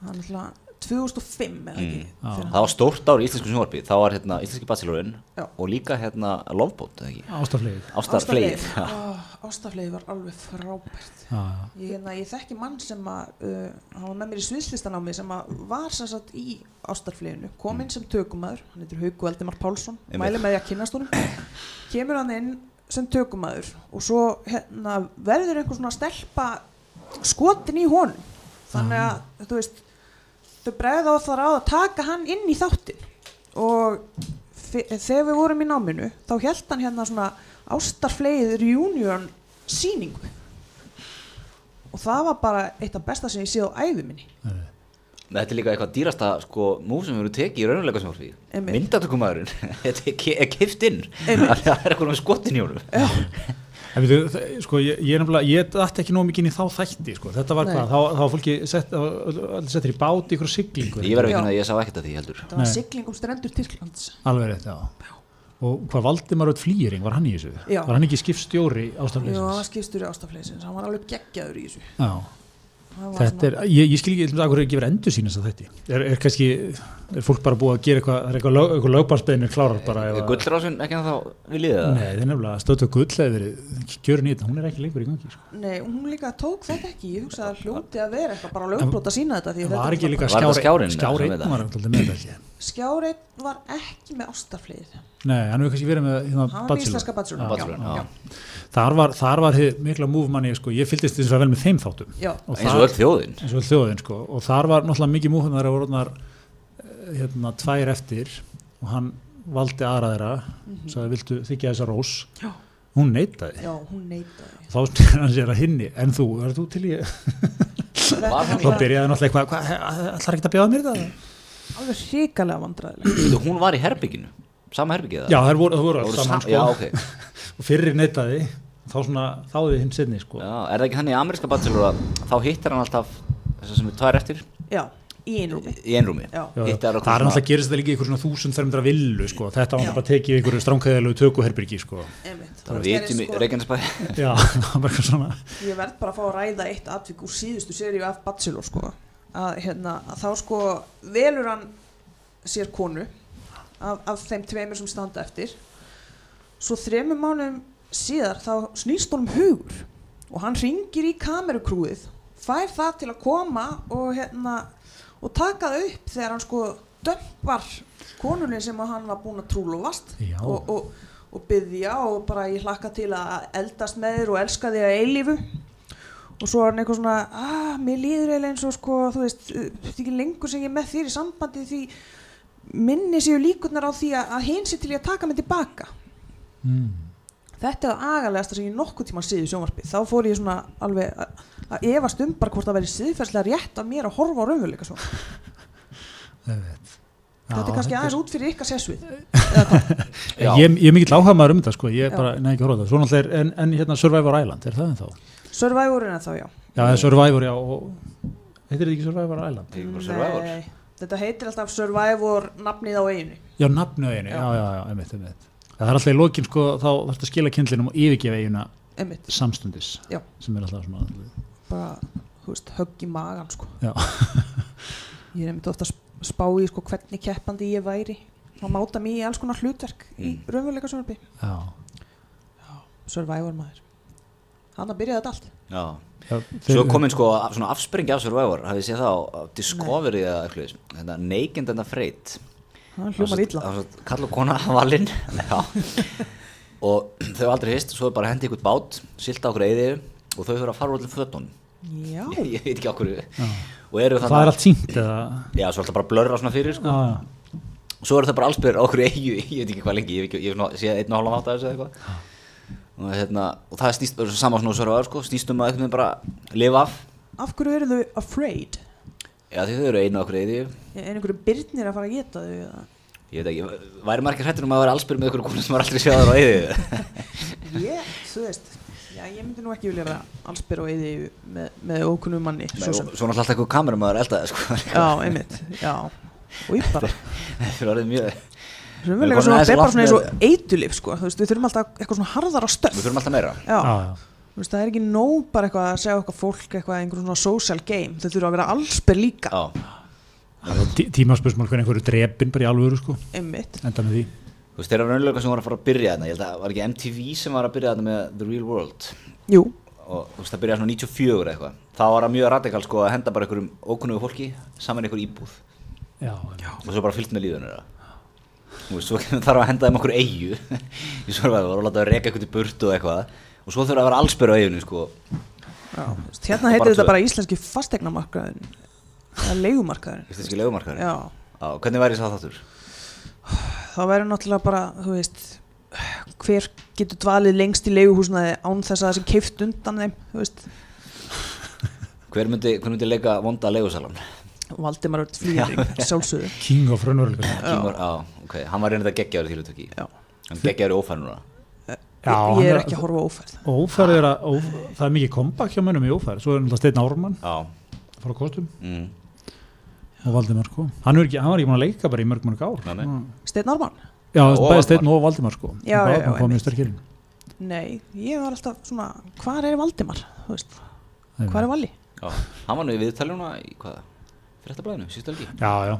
S3: Hann er alltaf 2005 eða ekki
S2: Mm.
S1: Já.
S3: Þegar-
S2: Það var stórt ár í íslensku sjónvarpi þá var hérna íslenski bachelorinn
S3: Já.
S2: og líka hérna loveboat eða ekki?
S1: Ástaflegið
S2: Ástarfleif
S3: Ástafleif.
S2: Já.
S3: Ó, Ástafleif var alveg frábært
S1: Já,
S3: Ég, hérna, ég þekki mann sem að, uh, hann var með mér í sviðslistanámi sem að var sem sagt í ástarfleginu, kom inn sem tökumæður, hann heitir Hauku Eldimar Pálsson,
S2: Einmitt.
S3: mæli með því að kynnast honum, kemur hann inn sem tökumæður og svo hérna, verður einhver svona stelpa skotin í honum, þannig að þú veist, þau bregða á það ráð að taka hann inn í þáttin og fe- þegar við vorum í náminu þá held hann hérna svona ástarflegið reunion sýningu og það var bara eitt af besta sem ég séð á æfi minni
S1: eh.
S2: Nei, Þetta er líka eitthvað dýrasta sko, múf sem við erum tekið í raunveruleika sjónvarpi
S3: Einmitt.
S2: Myndatökumæðurinn Þetta er ke- er keift inn
S3: Einmitt.
S2: Af því að Það er eitthvað með skotin í honum
S1: En við, þau- þau- sko, ég, ég er nefnilega, ég dætti ekki nóg mikið inn í þá þætti, sko, þetta var
S3: Nei.
S1: hvað, þá, þá var fólki sett, þá var öll- öll settir í bát í ykkur siglingu,
S2: Ég verði
S3: Já.
S2: ekki að ég sá ekkert að því heldur
S3: það var
S1: Nei.
S3: sigling um strendur Tyrklands
S1: alveg rétt, já. Og hvað Valdimar Öll Flýring, var hann í þessu?
S3: Já.
S1: Var hann ekki skipstjóri
S3: Jú, hann var
S1: ástaflegisins?
S3: skipstjóri ástafleysins, hann var alveg geggjaður í þessu
S1: Já,
S3: Hann var
S1: þetta er, ég, ég skil ekki, til dæmis, af hverju ekki verið endur sínast að þetta, er, er kannski, er fólk bara búið að gera eitthvað, er eitthvað, lög, eitthvað lögbarsbeðinu klárar bara? ef að-
S2: Gullrásun ekki en þá við liða það
S1: Nei, það er nefnilega stötu gull hefur verið kjörin í þetta, hún er ekki lengur í gangi sko.
S3: svona, nei, hún líka tók þetta ekki ég hugsaði að hljóti að vera eitthvað bara lögbrot að sína þetta því að þetta
S1: var ekki líka
S2: Var þetta
S1: skjári,
S2: skjárinn, eða
S1: skjári hún var
S2: hvað með
S1: alltaf með þetta ekki.
S3: skjáreit var ekki með ástafleið
S1: Nei, hann hefur kannski verið með hérna,
S3: hann var með íslenska
S1: bachelor.
S3: bachelor
S2: Bachelorinn, já.
S1: Þar var, þar var hið mikla múf manni, sko, ég fylgdist eins og vel með þeim þáttum
S3: Já.
S1: og
S2: Eins og öll
S1: þar,
S2: þjóðin
S1: eins og öll þjóðin sko. og þar var náttúrulega mikið múf þegar voru orðnar eh, hérna, tvær eftir og hann valdi aðra þeirra
S3: Mhm.
S1: sagði, viltu þykja þessa rós
S3: Já.
S1: hún neytaði,
S3: já, hún neitaði
S1: þá snýr hann sér að hinni en þú, er þú til ég
S3: Þetta
S2: hann
S1: þá
S3: var
S1: byrjaði náttúrulega eitthvað, hvað, ætlar ekki að bjóða mér þetta?
S3: alveg hrikalega vandræðileg
S2: Veitu, Hún var í herbygginu Sama herbyggið
S1: Já, það voru, þær voru
S2: Það
S1: alls
S2: voru
S1: saman
S2: sam-
S1: sko.
S2: Já, ok
S1: og fyrir neytaði þá svona þáði hinn sinni sko.
S2: Já, er það ekki þannig í ameríska bachelor að þá hittar hann alltaf þessar sem er tvær eftir
S3: já, í einrúmi
S2: í einrúmi
S3: Já.
S1: Já, já.
S2: hittar
S1: það er
S2: okkur svona-
S1: náttúrulega gerist þetta líka í ykkur svona 1300 villu sko. þetta var
S3: Já.
S1: náttúrulega bara tekið í ykkur stránkæðilegu tökuherbyrgi sko.
S3: einmitt
S2: Það vitum í
S3: Sko,
S2: Reykjanesbæ
S1: já, það var bara eitthvað svona
S3: ég verð bara að fá að ræða eitt atvik úr síðustu seríu af Bachelor sko að hérna að þá sko velur hann sér konu af, af þeim tveimur sem standa eftir svo þremur mánum síðar þá snýst honum hugur og hann ringir í kamerukrúið fær það til að koma og hérna og taka það upp þegar hann sko dömpar konunni sem að hann var búinn að trúlofast
S1: Já.
S3: og, og, og byggja og bara ég hlakka til að eldast með þér og elska þig að eilífu og svo er hann eitthvað svona að mér líður eiginlega eins og sko þú veist, uh, þetta er ekki lengur sem ég er með þér í sambandi því minni séu líkurnar á því að, að hinn sé til ég að taka mig tilbaka
S1: mm.
S3: þetta er það agalegasta sem ég nokkuð tíma séð í sjónvarpi þá fór ég svona alveg að- að efast um bara hvort það væri siðferðslega rétt af mér að horfa á raunveruleika svona
S1: einmitt. Já,
S3: þetta er kannski aðeins út fyrir ykkar sérsvið
S2: Já.
S1: ég, ég er mikill áhuga maður um þetta sko. ég
S3: Já.
S1: er bara, nei ekki að horfa á þetta Svo náttúrulega er- en, en hérna Survivor Island, er það ennþá?
S3: Survivorina þá já
S1: já, það er Survivor, já og... heitir þetta ekki Survivor Island?
S2: Þetta er bara Survivor.
S3: Nei, þetta heitir alltaf Survivor nafnið á eiginu
S1: já, nafnu einu, já,
S3: Já.
S1: já, já, einmitt, einmitt það er alltaf í lokin, sko, þá þarf að skila kindlinum og yfirgefa eiguna
S3: einmitt,
S1: samstundis
S3: Já.
S1: sem er alltaf svona
S3: bara, þú veist, högg í magan sko
S1: Já.
S3: ég er einmitt ofta að sp- spá í sko hvernig keppandi ég væri og máta mig í alls konar hlutverk í
S2: Mm.
S3: raunveruleika sjónvarpi
S1: já,
S3: Survivor maður hann að byrja þetta allt
S2: Já.
S1: já,
S2: Svo
S1: þeir-
S2: komin sko af- svona afspringi af Survivor hafið þið séð það á á Discovery eða eitthvað þess þetta Naked and Afraid
S3: hann hljómar illa
S2: Það var svo- kall og kona valinn Já. og þau hafa aldrei hist svo er bara að hendi ykkur bát silta okkur eyði og þau þurfa að fara úr allir fötun
S3: já,
S2: ég, ég veit ekki okkur og eru
S1: það er
S2: þannig
S1: allt sínt eða
S2: Já, svo er alltaf bara að blörra svona fyrir sko.
S1: já, já.
S2: Svo eru það bara allsbyrður á okkur eigu Ég veit ekki hvað lengi, ég hef ekki- ég hef svona- séð einn og hálfan átt af þessu eða eitthvað og, hérna, og það snýst bara saman svona sörfaður sko, snýst um að einhvern veginn bara lifa af
S3: Af hverju eru þau afraid?
S2: já því þau eru einu okkur eða ég,
S3: Er einhverju byrnir að fara að geta þau? eða?
S2: ég veit ekki, væri margir hrættur um að vera allsbyrð með einhverju konu sem var aldrei séðar á eði
S3: Ég, þú veist, já, ég myndi nú ekki vilja vera allsbyr og eyði með, með ókunnum manni, svo sem.
S2: svona alltaf eitthvað kamerum að vera eldaði sko
S3: Já, einmitt, já. Og ég bara,
S2: það er orðið mjög
S3: raunverulega
S2: Við erum komin
S3: svona,
S2: aðeins
S3: það er
S2: langt
S3: bara svona
S2: með-
S3: eins og eitulif, sko, þú veist, við þurfum alltaf eitthvað svona harðara
S2: við
S3: stöf.
S2: þurfum alltaf meira
S3: Já,
S1: já, já.
S3: þú veist, það er ekki nóg bara eitthvað að segja okkar fólk eitthvað, einhverjum svona social game, þau þurfum að vera allsbyr líka,
S2: já
S1: Tí- tímaspursmál hvernig einhverju drepin bara í alvöru sko,
S3: einmitt.
S1: enda með því
S2: þú veist þeirra raunlega sem var að fara að byrja þarna ég held að var ekki MTV sem var að byrja þarna með The Real World
S3: Jú,
S2: og þú veist það byrjaði svona 94 eða eitthvað það var það mjög radikal sko að henda bara einhverjum ókunnugu fólki saman í einhver íbúð
S1: já,
S2: og svo bara fyllt með líðunir og svo kemur þarf að henda þeim okkur eigu í svörfæðu og láta að reka eitthvað til burtu og eitthvað og svo þurfa að vera allsbyrðu á eiginu sko
S3: já, þú veist, hérna heitir
S2: Bara
S3: þetta
S2: tvö.
S3: bara íslenski fastegnamarkaðin, eða leigumarkaðin.
S2: íslenski legumarkaður
S3: Já,
S2: hvernig væri það þáttur?
S3: þá verður náttúrulega bara, þú veist hver getur dvalið lengst í leiguhúsnaði án þess að það sé keift undan þeim þú veist,
S2: Hver myndi, hver myndi leika vonda legusalan?
S3: Valdimar Örn Flýring sjálfsögðu
S1: king of raunveruleika
S2: Kímur, á, ok, hann var reynda geggjaður í þýlutöki
S3: Já.
S2: hann geggjaður í ófærnuna
S1: Já,
S3: ég, ég
S1: hann
S3: er
S1: er-
S3: ekki að horfa á óferð
S1: ófærið er að, ó, það er mikið kompakt hjá mönnum í ófærið, svo er náttúrulega Steinn Ármann
S2: á,
S1: frá kostum
S2: mm.
S1: og Valdimar sko, hann, er ekki, hann var ekki búin að leika bara í mörg mörg ár
S2: Nei, nei.
S3: Steinn Ármann?
S1: já,
S2: Og
S1: bæði Steinn
S2: Valdimar.
S1: og Valdimar sko
S3: Já, já, já,
S1: já,
S3: einmitt.
S1: já,
S3: Nei, ég var alltaf svona hvar er Valdimar? Þú veist, hvar er Valli?
S2: á. hann var nú í viðtaljóna í hvað? Fréttablaðinu, síðustu helgi
S1: já, já,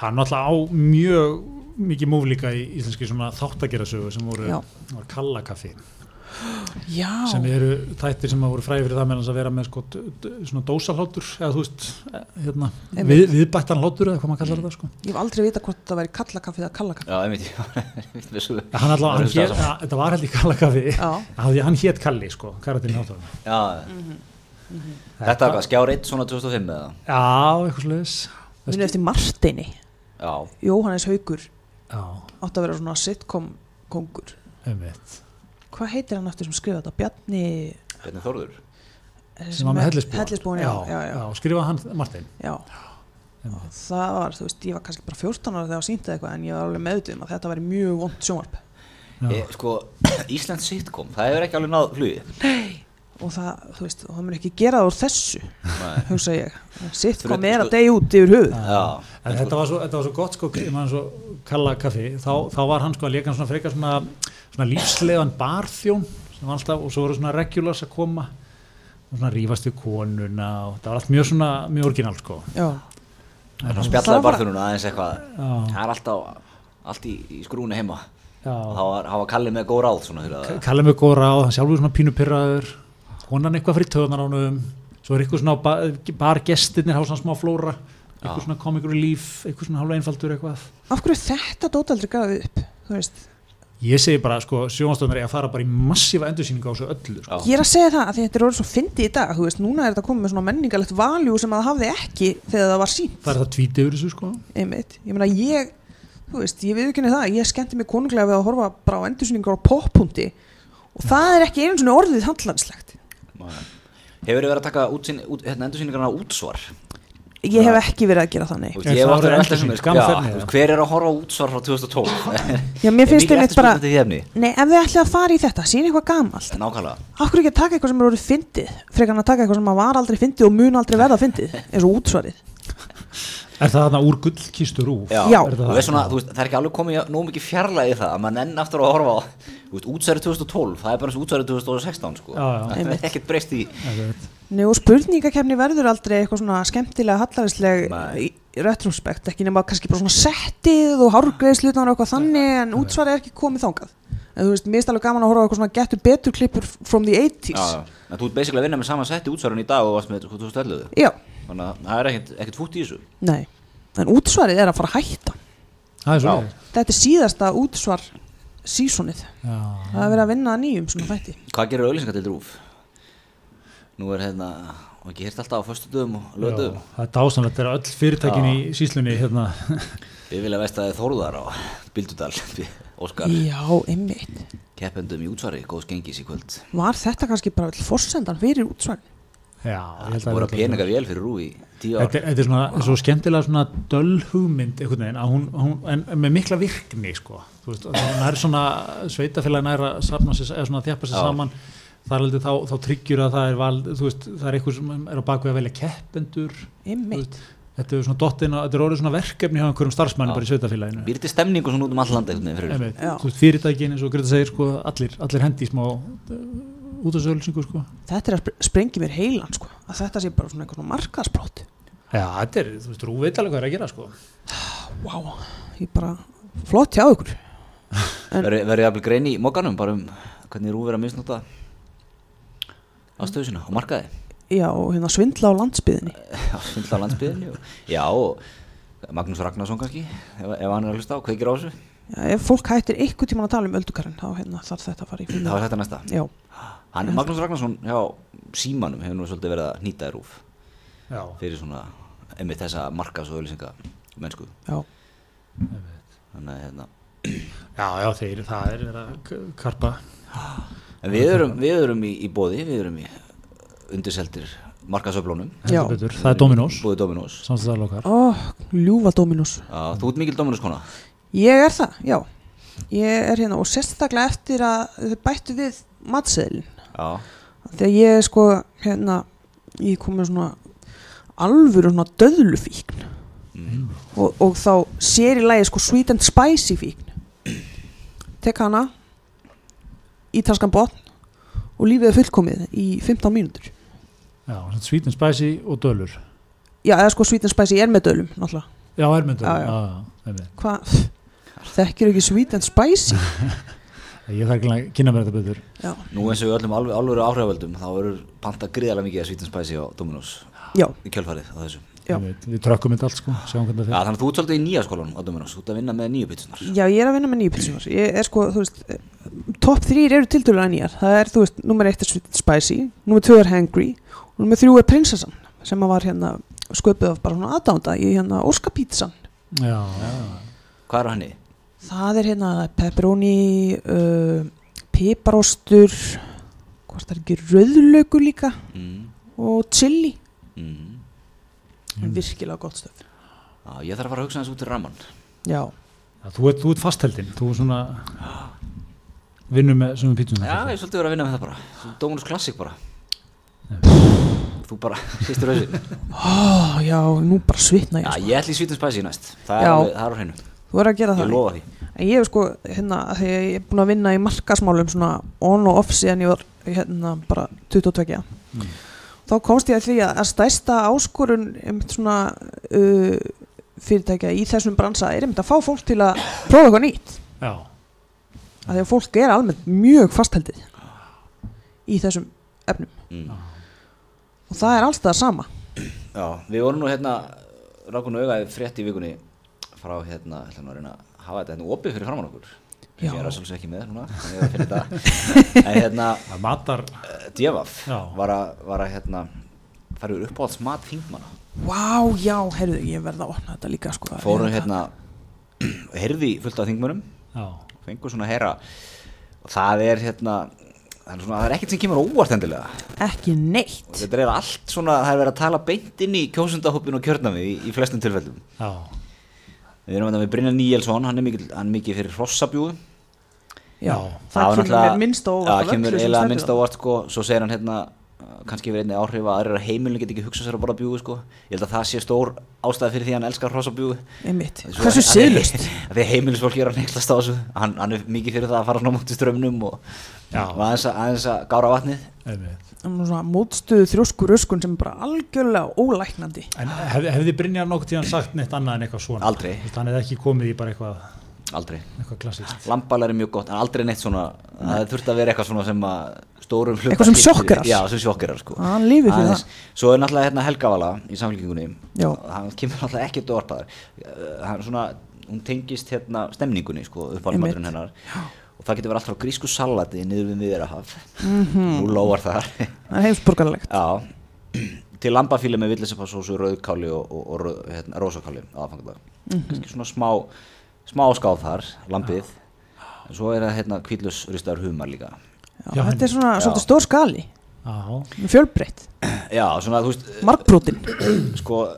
S1: hann náttúrulega á mjög mikið múf líka í íslenski svona þáttagerasögu sem voru
S3: Já.
S1: var kallakaffi
S3: Já,
S1: sem eru þættir sem að voru fræði fyrir það meðan að vera með sko, d- d- svona dósalhátur eða þú veist, eh, hérna, við,
S3: Einmitt. Mm.
S1: viðbættan hátur eða hvað maður kallar þetta sko
S3: ég hef aldrei vita hvort það væri kallakaffi eða kallakaffi
S2: já, einmitt, ég veit með svo
S1: hann allavega, hann
S2: Já,
S1: hét, að, þetta var heldur kallakaffi
S3: Já,
S1: af því að hann hét Kalli sko, karatinn hátur já,
S3: Mm.
S2: þetta var hvað, skjár 1 svona 2005 eða?
S1: eitthvað sliðis
S3: minn eftir Marteini
S2: já,
S3: Jóhannes Haugur
S1: já,
S3: átt að vera svona sitcom kongur
S1: einmitt
S3: Hvað heitir hann eftir sem skrifa þetta? Bjarni
S2: Bjarni Þórður
S1: sem var með hellisbúan,
S3: Hellisbúan, já, já, já,
S1: skrifaði hann Martin
S3: já. Og það var, þú veist, ég var kannski bara 14 ára þegar það sýndi eitthvað en ég var alveg meðutuð um að þetta væri mjög vond sjónvarp
S1: Já.
S2: e, sko, Íslands sitcom, það hefur ekki alveg náð flugið
S3: og það, þú veist, og það mun ekki gera það úr þessu
S2: Nei.
S3: hugsa ég, sitt
S2: Fyrir-
S3: kom er
S2: sko-
S3: að degja út yfir höfuð
S2: já,
S1: En þetta var, svo, þetta var svo gott sko, ég man svo kalla kaffi, þá, þá var hann sko að leka hann svona frekar svona, svona lífslegan barþjón sem var alltaf og svo voru svona regulars að koma og svona rífast við konuna og það var allt mjög svona, mjög orginal sko.
S3: já,
S2: hann
S3: Það
S2: spjallaði
S3: var-
S2: barðununa aðeins eitthvað
S1: Já,
S2: það er alltaf, allt í, í skrúni heima þá
S1: já.
S2: var, þá var Kalli með góð ráð svona fyrir að
S1: Kalla mig góð ráð, hann sjálfur svona pínu pyrraður, konan eitthvað fyrir töðunar ánum, svo er eitthvað svona á ba- bargestirnir, há svona smá flóra, eitthvað
S2: Já.
S1: svona komikur í líf, eitthvað svona hálfa einfaldur eitthvað.
S3: af hverju er þetta dótaldri gafið upp þú veist,
S1: Ég segi bara sko, sjónastöndar er að fara bara í massífa endursýningu á þessu öllu sko.
S2: Já.
S3: ég er að segja það að því þetta er orðið svo fyndi í dag, þú veist, núna er þetta komið með svona menningalegt valjú sem það hafði ekki þegar það var sínt,
S1: Það er það tvítið yfir þessu sko.
S3: einmitt ég meina ég, þú veist, ég við ekki það ég skemmti mig konunglega við að horfa bara á endursynningar á poppundi og það er ekki einu svona orðið handlandslegt
S2: hefur verið að taka útsýn, út, hérna, endursýningarna á útsvar
S3: ég hef ekki verið að gera það, nei
S2: Þú veist,
S1: Er
S2: ég hef
S1: það
S2: aftur
S1: orðið
S2: að velta þessum
S1: endursýning?
S2: sko, já,
S1: Skammfeilni,
S2: þú veist,
S1: eða?
S2: hver er að horfa á útsvar frá 2012
S3: Já, mér
S2: Er
S3: finnst
S2: mikil
S3: einmitt
S2: eftirspurn
S3: bara-
S2: eftir því efni?
S3: Nei, ef þið ætlið að fara í þetta, sín eitthvað gamalt
S2: nákvæmlega
S3: Akkur ekki að taka eitthvað sem er orðið fyndið frekar en að taka eitthvað sem að var aldrei fyndið og mun aldrei verða fyndið eins og útsvarið
S1: Er það þarna úr gullkistu rúf?
S2: Já,
S3: Já.
S2: og
S1: Er það
S2: það,
S1: það?
S2: svona, þú veist, það er ekki alveg komið nóg mikið fjarlægi það að mann enn aftur að horfa á þú veist, útsæri 2012, það er bara eins og útsæri 2016 sko.
S1: Já, já.
S2: það er ekkert breyst í
S1: Akkurat.
S3: Nei, og spurningakefni verður aldrei eitthvað svona skemmtilega hallarisleg
S2: Nei.
S3: retrospekt, ekki nema kannski bara svona settið og hárgreðslutnar og eitthvað þannig en útsvarið er ekki komið þangað en þú veist, mér er alveg gaman að horfa á eitthvað svona getur betur klippur from the
S2: já,
S3: 80s
S2: já. En þú ert basically að vinna með saman setti útsærin í dag og varst með sko, 2011
S3: Já,
S2: þannig að það er ekkert, ekkert fútt í þessu
S3: nei en útsvarið er að fara að hætta
S1: Það er svo.
S2: Já.
S3: þetta er síðasta útsvar sísonið,
S1: Já.
S3: það er verið að vinna að nýjum svona fætti
S2: hvað gerir auðlýsingar til rúf? nú er hérna og ekki hirt alltaf á föstu dögum og
S1: Já,
S2: lögdögum
S1: það er dásanlegt, það er öll fyrirtækin í síslunni hérna.
S2: við vilja veist að þið þóruðar á Bildudal Óskar,
S3: Já, einmitt.
S2: keppendum í útsvari, góðs gengis í kvöld
S3: Var þetta kannski bara öll forsendan fyrir útsvæðin?
S1: Já, ég held
S2: Það
S1: að vera
S2: voru að peninga vel fyrir rúi tíu ár
S1: Þetta er, þetta er svona, svo skemmtilega svona döll hugmynd einhvern veginn, að hún, hún, en en með mikla virkni sko, þú veist, að hún er svona sveitafélagin er að safna sér, eða svona að þjappa sér
S2: Já.
S1: saman, þar heldur þá, þá tryggjur að það er val, þú veist, það er eitthvað sem er á bakvið að velja keppendur, þú
S3: Einmitt.
S1: veist, þetta er svona dottin, þetta er orðið svona verkefni hjá einhverjum starfsmanni
S2: Já.
S1: bara í sveitafélaginu.
S2: Býrti stemningu svona út um allan landa fyrir
S1: Einmitt,
S3: Já.
S1: Þú veist, fyrirtækin eins og Greta segir sko, allir, allir hendi í smá út af sölsingu sko.
S3: Þetta er að spre- sprengja mér heilan sko. Að þetta sé bara svona einhvern svona markaðsbrót.
S1: Já, þetta er, þú veist, rúveitalega hvað er að gera sko.
S3: Vá, ég bara flott hjá ykkur. En-
S2: Verði verði jafnvel grein í mókanum bara um hvernig rúi verið að misnota ástöðu sína og markaði
S3: Já, og hérna svindla á landsbyðinni.
S2: Já, svindla á landsbyðinni og, Já, og Magnús Ragnarsson kannski ef, ef hann er að hlusta á, kveikir á þessu
S3: Já, ef fólk hættir einhvern tíman að tala um öldukarinn, þá hérna þarf þetta að fara í
S2: Það var þetta næsta
S3: Já,
S2: hann, Magnús Ragnarsson hjá símanum hefur nú svolítið verið að nýta í rúf
S1: Já,
S2: fyrir svona, einmitt þessa markas og öllisinga mennsku
S3: já.
S2: Þannig að hérna
S1: já, já þeir, það er verið að k- karpa
S2: En við erum, við erum í, í bóði, við erum í undirseldir markasöflónum
S3: Já.
S1: heldur betur, það er Dominós
S2: Bóði Dominós
S1: samstæðal okkar
S3: Ó, ljúfa Dominus.
S2: Já, Þú ert mikil Dominós kona
S3: Ég er það, já. Ég er hérna og sérstaklega eftir að þau bættu við matseðilin.
S2: Já,
S3: Þegar ég er sko, hérna, ég kom með svona alvöru svona döðlufíkn og, og þá sér í lagi sko sweet and spicy fíkn. Tek hana, ítalskan botn og lífið er fullkomið í 15 mínútur.
S1: Já, sem sagt sweet and spicy og dölur
S3: Já, eða sko sweet and spicy er með döðlum, náttúrulega.
S1: Já, ermyndur
S3: Já, já.
S1: Ég
S3: hvað þekkir ekki sweet and spicy
S1: þarf ekki að kynna mér þetta betur
S3: já,
S2: nú eins og við öllum alveg alvöru áhrifaldum þá verður panta gríðarlega mikið að svítan spæsi á Dominós
S3: já,
S2: í kjölfarið á þessu Já,
S3: Já.
S1: einmitt. Við trökkum þetta allt sko, sjáum hvernig það fer
S2: þannig að þú ert svolítið í nýja skólanum á Dominós þú ert að vinna með nýju byttunar
S3: já, ég er að vinna með nýju pilsunar ég er sko, þú veist, eh, topp þrýr eru tildurlega nýjar, það er, þú veist, nummer eitt er sweet and spicy, nummer tvö er hangry og nummer þrjú er prinsessan sem að var hérna sköpuð af bara svona aðdánda í hérna óskapítsan
S1: Já, já,
S2: Hvað er á henni?
S3: það er hérna pepperoni uh, piparostur hvort það er ekki rauðlauku líka
S2: Mm,
S3: og chili,
S2: mm.
S3: mm. virkilega gott stöf
S2: Já, ég þarf að fara að hugsa þessu út í ramman
S3: já,
S1: Já, Þú ert, þú ert fastheldin, þú er svona vinnum með svona pítum
S2: Já, ég er svolítið verið að vinna með það bara Dominós Classic bara Þú bara, sýstur þessu
S3: Ó, já, nú bara svitna ég
S2: Já,
S3: sko.
S2: ég ætli í svítan spæsi næst Það er,
S3: Já.
S2: alveg- það er á hreinu,
S3: þú er að gera það
S2: ég lofa því
S3: En ég hef sko, hérna, af því að ég er búin að vinna í markasmálum svona on og off síðan ég var hérna bara 22
S2: Mm.
S3: þá komst ég að því að, að stærsta áskorun einmitt svona uh, fyrirtækja í þessum bransa er einmitt að fá fólk til að prófa eitthvað nýtt
S1: Já,
S3: af því að fólk er almennt mjög fastheldið í þessum efnum
S2: mm.
S3: og það er alltaf sama
S2: Já, við vorum nú hérna rákunum auðvitað frétt í vikunni frá hérna, ætla nú að reyna að hafa þetta hérna opið fyrir framann okkur
S3: Já.
S2: Ég er að svolítið ekki með núna, en ég er að finna þetta En hérna,
S1: það matar
S2: eh, Djevaf
S1: Já.
S2: var að, var að hérna fara úr uppáhalds mat þingmanna
S3: Vá, já, heyrðu, ég verða að opna þetta líka sko
S2: Fórum hérna, heyrði í fullt af þingmönnum
S1: Já,
S2: fengur svona að heyra og það er hérna það er, svona, það er ekkert sem kemur á óvart endilega
S3: Ekki neitt
S2: og þetta er eiginlega allt svona, það er verið að tala beint inn í kjósundahópin og kjörnami í, í flestum tilfellum
S1: já,
S2: Við erum þetta með Brynjar Níelsson, hann er mikið, hann er mikið fyrir hrossabjúðu.
S3: Já,
S1: Já.
S3: það kemur
S2: náttúrulega-
S3: mér minnst á óvart
S2: Já,
S3: af
S2: það kemur
S3: öllu sem
S2: eiginlega
S3: stendur
S2: minnst á
S3: þarna.
S2: óvart, sko, svo segir hann hérna, uh, kannski verið einni áhrif að aðrir heimilin get ekki hugsað sér að borða bjúðu, sko. Ég held að það sé stór ástæði fyrir því að hann elskar hrossabjúðu.
S3: Einmitt,
S2: Svo-
S3: hversu
S2: að því-
S3: siðlust
S2: að Því að heimilisfólki er að neiklast á þessu, hann, hann er mikið fyrir það að fara svona mútið strömmnum og,
S1: Já.
S2: og aðeins, að, aðeins að gára vatnið.
S1: einmitt
S3: svona mótstöðu þrjóskur öskun sem er bara algjörlega ólæknandi
S1: En hef, hefði Brynjar nokkuð tíðan sagt neitt annað en eitthvað svona?
S2: Aldrei.
S1: Þú veist, Hann hefði ekki komið í bara eitthvað,
S2: Aldrei.
S1: eitthvað klassíkt
S2: Lambalæri er mjög gott, en aldrei neitt svona, það þurft að vera eitthvað svona sem að stórum hluta
S3: Eitthvað sem
S2: skiptir-
S3: sjokkerar.
S2: Já, sem sjokkerar sko.
S3: Að hann lifi fyrir
S2: Aðeins. Svo er náttúrulega hérna Helgavala í samfélkingunni
S3: Já.
S2: Hann kemur náttúrulega ekkert orpaðar Eh, Hann svona, hún tengist hérna stemningunni sko,
S3: Einmitt.
S2: uppáhalmaturinn hennar Og það getur verið allt frá grísku salati niður við viðrahaf
S3: Mhm.
S2: Nú lóar það
S3: það er heimsborgarlegt
S2: Já Til lambafíli með villisepasósu, rauðkáli og, og, og rauð- hérna, rósakáli á aðfangadag Kannski svona smá, smá skáð þar, lambið En Svo er það hérna kvítlus ristar humar líka
S3: Já,
S1: Já,
S3: þetta er svona
S2: já.
S3: svolítið stór skali,
S1: Já,
S3: fjölbreytt,
S2: Já, svona þú veist
S3: markbrotin.
S2: sko,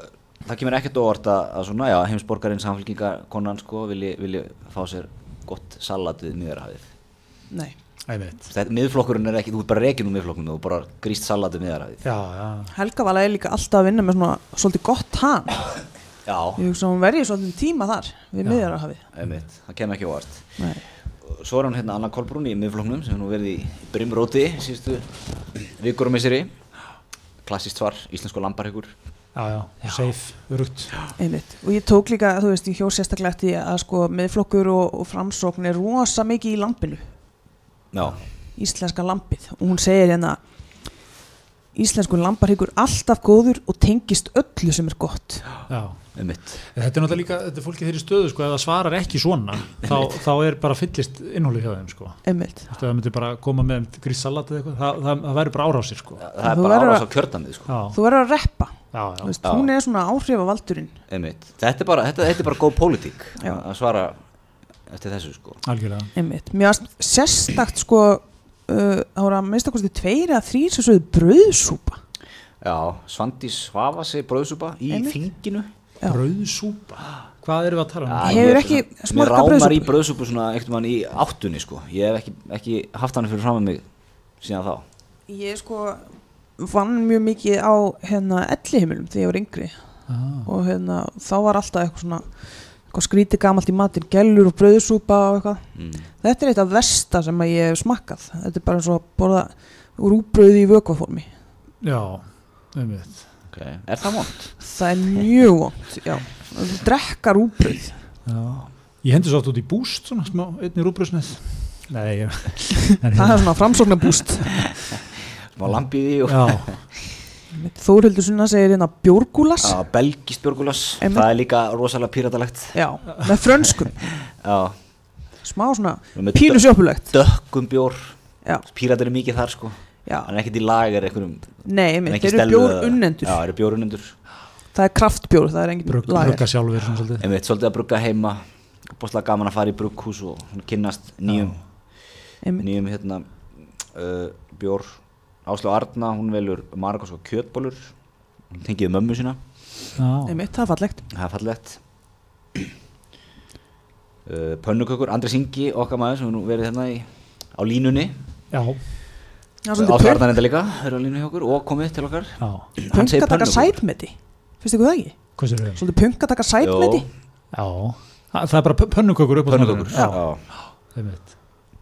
S2: það kemur ekkert á óvart að, að svona, já, heimsborgarinn samfélkingakonan sko, vilji, vilji fá sér gott salat við miðarhafið
S3: Nei,
S1: einmitt
S2: þetta miðflokkurinn er ekki, þú er bara rekin úr miðflokknum og bara gríst salat við miðarhafið
S1: Já, já,
S3: Helga var eiginlega líka alltaf að vinna með svona svolítið gott hann.
S2: já,
S3: Ég hugsa að hún verið svolítið tíma þar við miðjararhafið.
S2: einmitt, það kemur ekki á óvart
S3: Nei,
S2: svo er hún hérna Anna Kolbrún í miðflokknum sem hefur nú verið í brimróti síðustu vikur og misseri klassist svar, íslensku lambarhegur
S1: já, já, safe, örugt
S3: einmitt. Og ég tók líka, þú veist, ég hjó sérstaklega eftir því að sko miðflokkur og, og framsókn er rosa mikið í lampinu,
S2: já,
S3: íslenska lampið. Og hún segir hérna, íslensku lambar hyggur alltaf góður og tengist öllu sem er gott.
S1: Já,
S2: einmitt
S1: þetta er náttúrulega líka, þetta er fólkið þeirri stöðu sko, ef það svarar ekki svona þá, þá er bara fyllist innhóli hjá þeim sko
S3: Einmitt.
S1: Þú veist, ef það myndi bara koma með gríssalat eða eitthvað, það, það, það væri bara árásir sko Já,
S2: það er
S3: Þú
S2: bara
S3: verður
S2: árás
S3: að-
S2: á kjördamið sko,
S1: já,
S3: Þú verður að reppa. Þú
S1: já,
S3: Veist, hún er svona áhrifavaldurinn.
S2: einmitt þetta er bara, þetta, þetta er bara góð pólitík
S3: Já.
S2: að að svara eftir þessu sko
S1: algjörlega
S3: Einmitt. Mér varst sérstakt sko uh, það voru að minnsta kosti tveir eða þrýr sem svoðu brauðsúpa.
S2: Já, Svandís Svavasi bröðsúpa í
S3: Einmitt.
S2: þinginu
S3: Já.
S1: Brauðsúpa, hvað erum við að tala um?
S2: Já,
S3: Hefur
S2: ég er
S3: ekki
S2: svona-
S3: smakkað
S2: Mér rámar
S3: brauðsúpu?
S2: í bröðsúpu svona einhvern veginn í áttunni sko Ég hef ekki, ekki haft hann fyrir fram með mig síðan þá
S3: Ég sko vann mjög mikið á hérna ellihimilum þegar ég var yngri
S1: Ah,
S3: og hérna þá var alltaf eitthvað svona eitthvað skrítið gamalt í matinn, gellur og brauðsúpa og eitthvað.
S2: mm.
S3: Þetta er eitt af versta sem að ég hef smakkað. Þetta er bara eins og að borða rúbrauði í vökvaformi.
S1: Já, einmitt
S2: okay. Er það vond?
S3: Það er mjög vond, já. Þú drekkar rúbrauð.
S1: já. Ég hendi svo oft út í búst svona, smá, einni rúbröðsneið Nei, ég en
S3: Það
S1: hérna-
S3: er svona framsóknarbúst.
S2: Má lambið í og
S1: Já,
S3: Þórhildur Sunna segir hérna bjórgúlas.
S2: Já, Belgist björgulas
S3: Einmitt.
S2: Það er líka rosalega píratalegt
S3: Já, með frönskum
S2: Já,
S3: Smá svona
S2: Með
S3: pínu sjöpulegt
S2: dökkum bjór
S3: Já,
S2: Píratar er mikið þar sko
S3: já,
S2: Hann er ekkert í lagar einhverjum
S3: nei,
S2: hann er
S3: einmitt,
S2: ekki
S3: þeir eru
S2: stelðu-
S3: bjórunnendur
S2: Já, þeir eru bjórunnendur
S3: Það er kraftbjór, það er engin
S1: brugg-
S3: lager
S1: brugga sjálfur svona svolítið
S2: Einmitt, svolítið að brugga heima Bóðslega gaman að fara í brugghús og svona kynnast nýjum
S3: Einmitt.
S2: nýjum hérna uh, Bjór Áslu Arna, hún velur Margos og kjötbólur hún tengið mömmu sína,
S1: Já,
S3: einmitt, það er fallegt
S2: það er fallegt uh, Pönnukökur, Andri Singi, okkar maður sem hefur nú verið hérna í, á línunni
S1: já,
S3: Já,
S2: Áslu
S3: svolítið pönk
S2: Arna enda líka, er á línunni hjá okkur og komið til okkar
S1: já
S2: Hann
S3: Pönk
S2: segir
S3: að taka
S2: pönnukökur.
S3: sætmeti Finnst ykkur það ekki?
S1: Hvað sér við?
S3: Svolítið pönk að taka sætmeti
S1: Já, Þa- það er bara pö- pönnukökur upp á
S2: Pönnukökur,
S1: snúrunni.
S2: já.
S1: Já, einmitt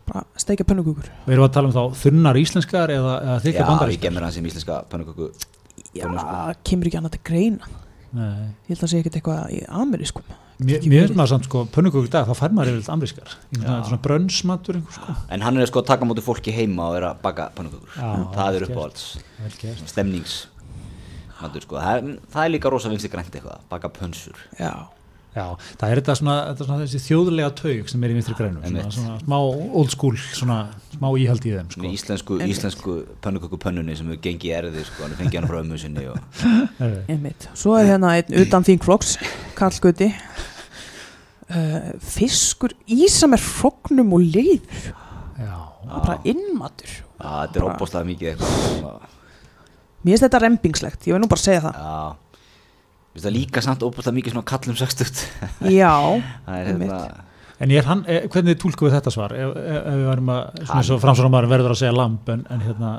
S3: Bara steikja pönnugugur
S1: Við erum að tala um þá þunnar íslenskar eða, eða
S2: Já,
S1: þykka
S2: ég
S1: bandarískar
S2: gemur hann sem íslenska pönnuköku
S3: Já, kemur ekki annað til greina
S1: Nei.
S3: Ég held að segja ekkert eitthvað í amerískum
S1: Mér mér finnst maður samt sko pönnukökur í dag, þá fær maður yfirleitt amrískar Ég finnst
S2: Já.
S1: það er svona brönnsmatur einhver sko
S2: En hann er sko að taka á móti fólki heima og vera að baka pönnukökur
S1: Já,
S2: Það er
S1: gert.
S2: uppáhalds
S1: Vel gert
S2: stemnings Matur, sko. það, er, það er líka rosa vinstri grænt eitthvað baka pönsur
S3: Já,
S1: Já, það er þetta svona, þetta er svona þessi þjóðlega taug sem er í vinstri grænum svona,
S2: Einmitt.
S1: svona smá old school, svona smá íhald í þeim sko.
S2: með íslensku,
S3: Einmitt.
S2: íslensku pönnuköku pönnunni sem hefur gengið í erði sko. hann fengi hann frá ömmu sinni og...
S1: Nei,
S3: einmitt Svo er hérna einn utan þín flokks Karl Gutti uh, Fiskur, ísa með hrognum og leif
S1: Já,
S3: Það er bara innmatur
S2: að, þetta er
S3: Bara-
S2: óbúslega mikið eitthvað sko. svona,
S3: Mér finnst þetta rempingslegt, ég vil nú bara segja það
S2: að, það er líka samt óbúslega mikið svona kallum sextut
S3: Já,
S2: það er
S3: einmitt.
S2: hérna
S1: En er hann, er, hvernig túlkum við þetta svar ef, ef, ef við varum að, svona svo framsvara maður verður að segja lamp en, en hérna,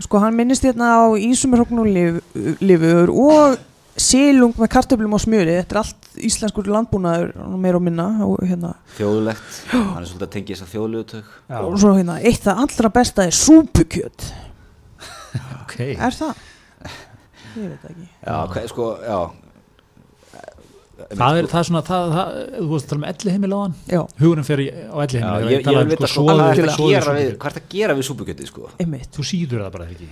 S3: Sko hann minnist hérna á ísum með hróknulifur og sílung með kartöflum og smjöri Þetta er allt íslenskur landbúnaður meir og minna og, hérna.
S2: þjóðlegt hann er svolítið að tengja þess að þjóðlegu tök
S1: já,
S3: og svo hérna, eitt það allra besta er súpukjöt
S1: ok
S3: Er það? Ég veit það ekki
S2: já, hva, sko, já, sko,
S1: Það er, það er svona, það, það, þú veist að tala um elli heimil á hann
S3: Já,
S1: Hugurinn fer í, á elli
S2: já,
S1: heimil
S2: ég, ég vil vita sko, hvað er þetta að gera við-
S1: við
S2: hvað er þetta að gera við súpukjötið sko?
S3: einmitt
S1: Þú síður það bara ekki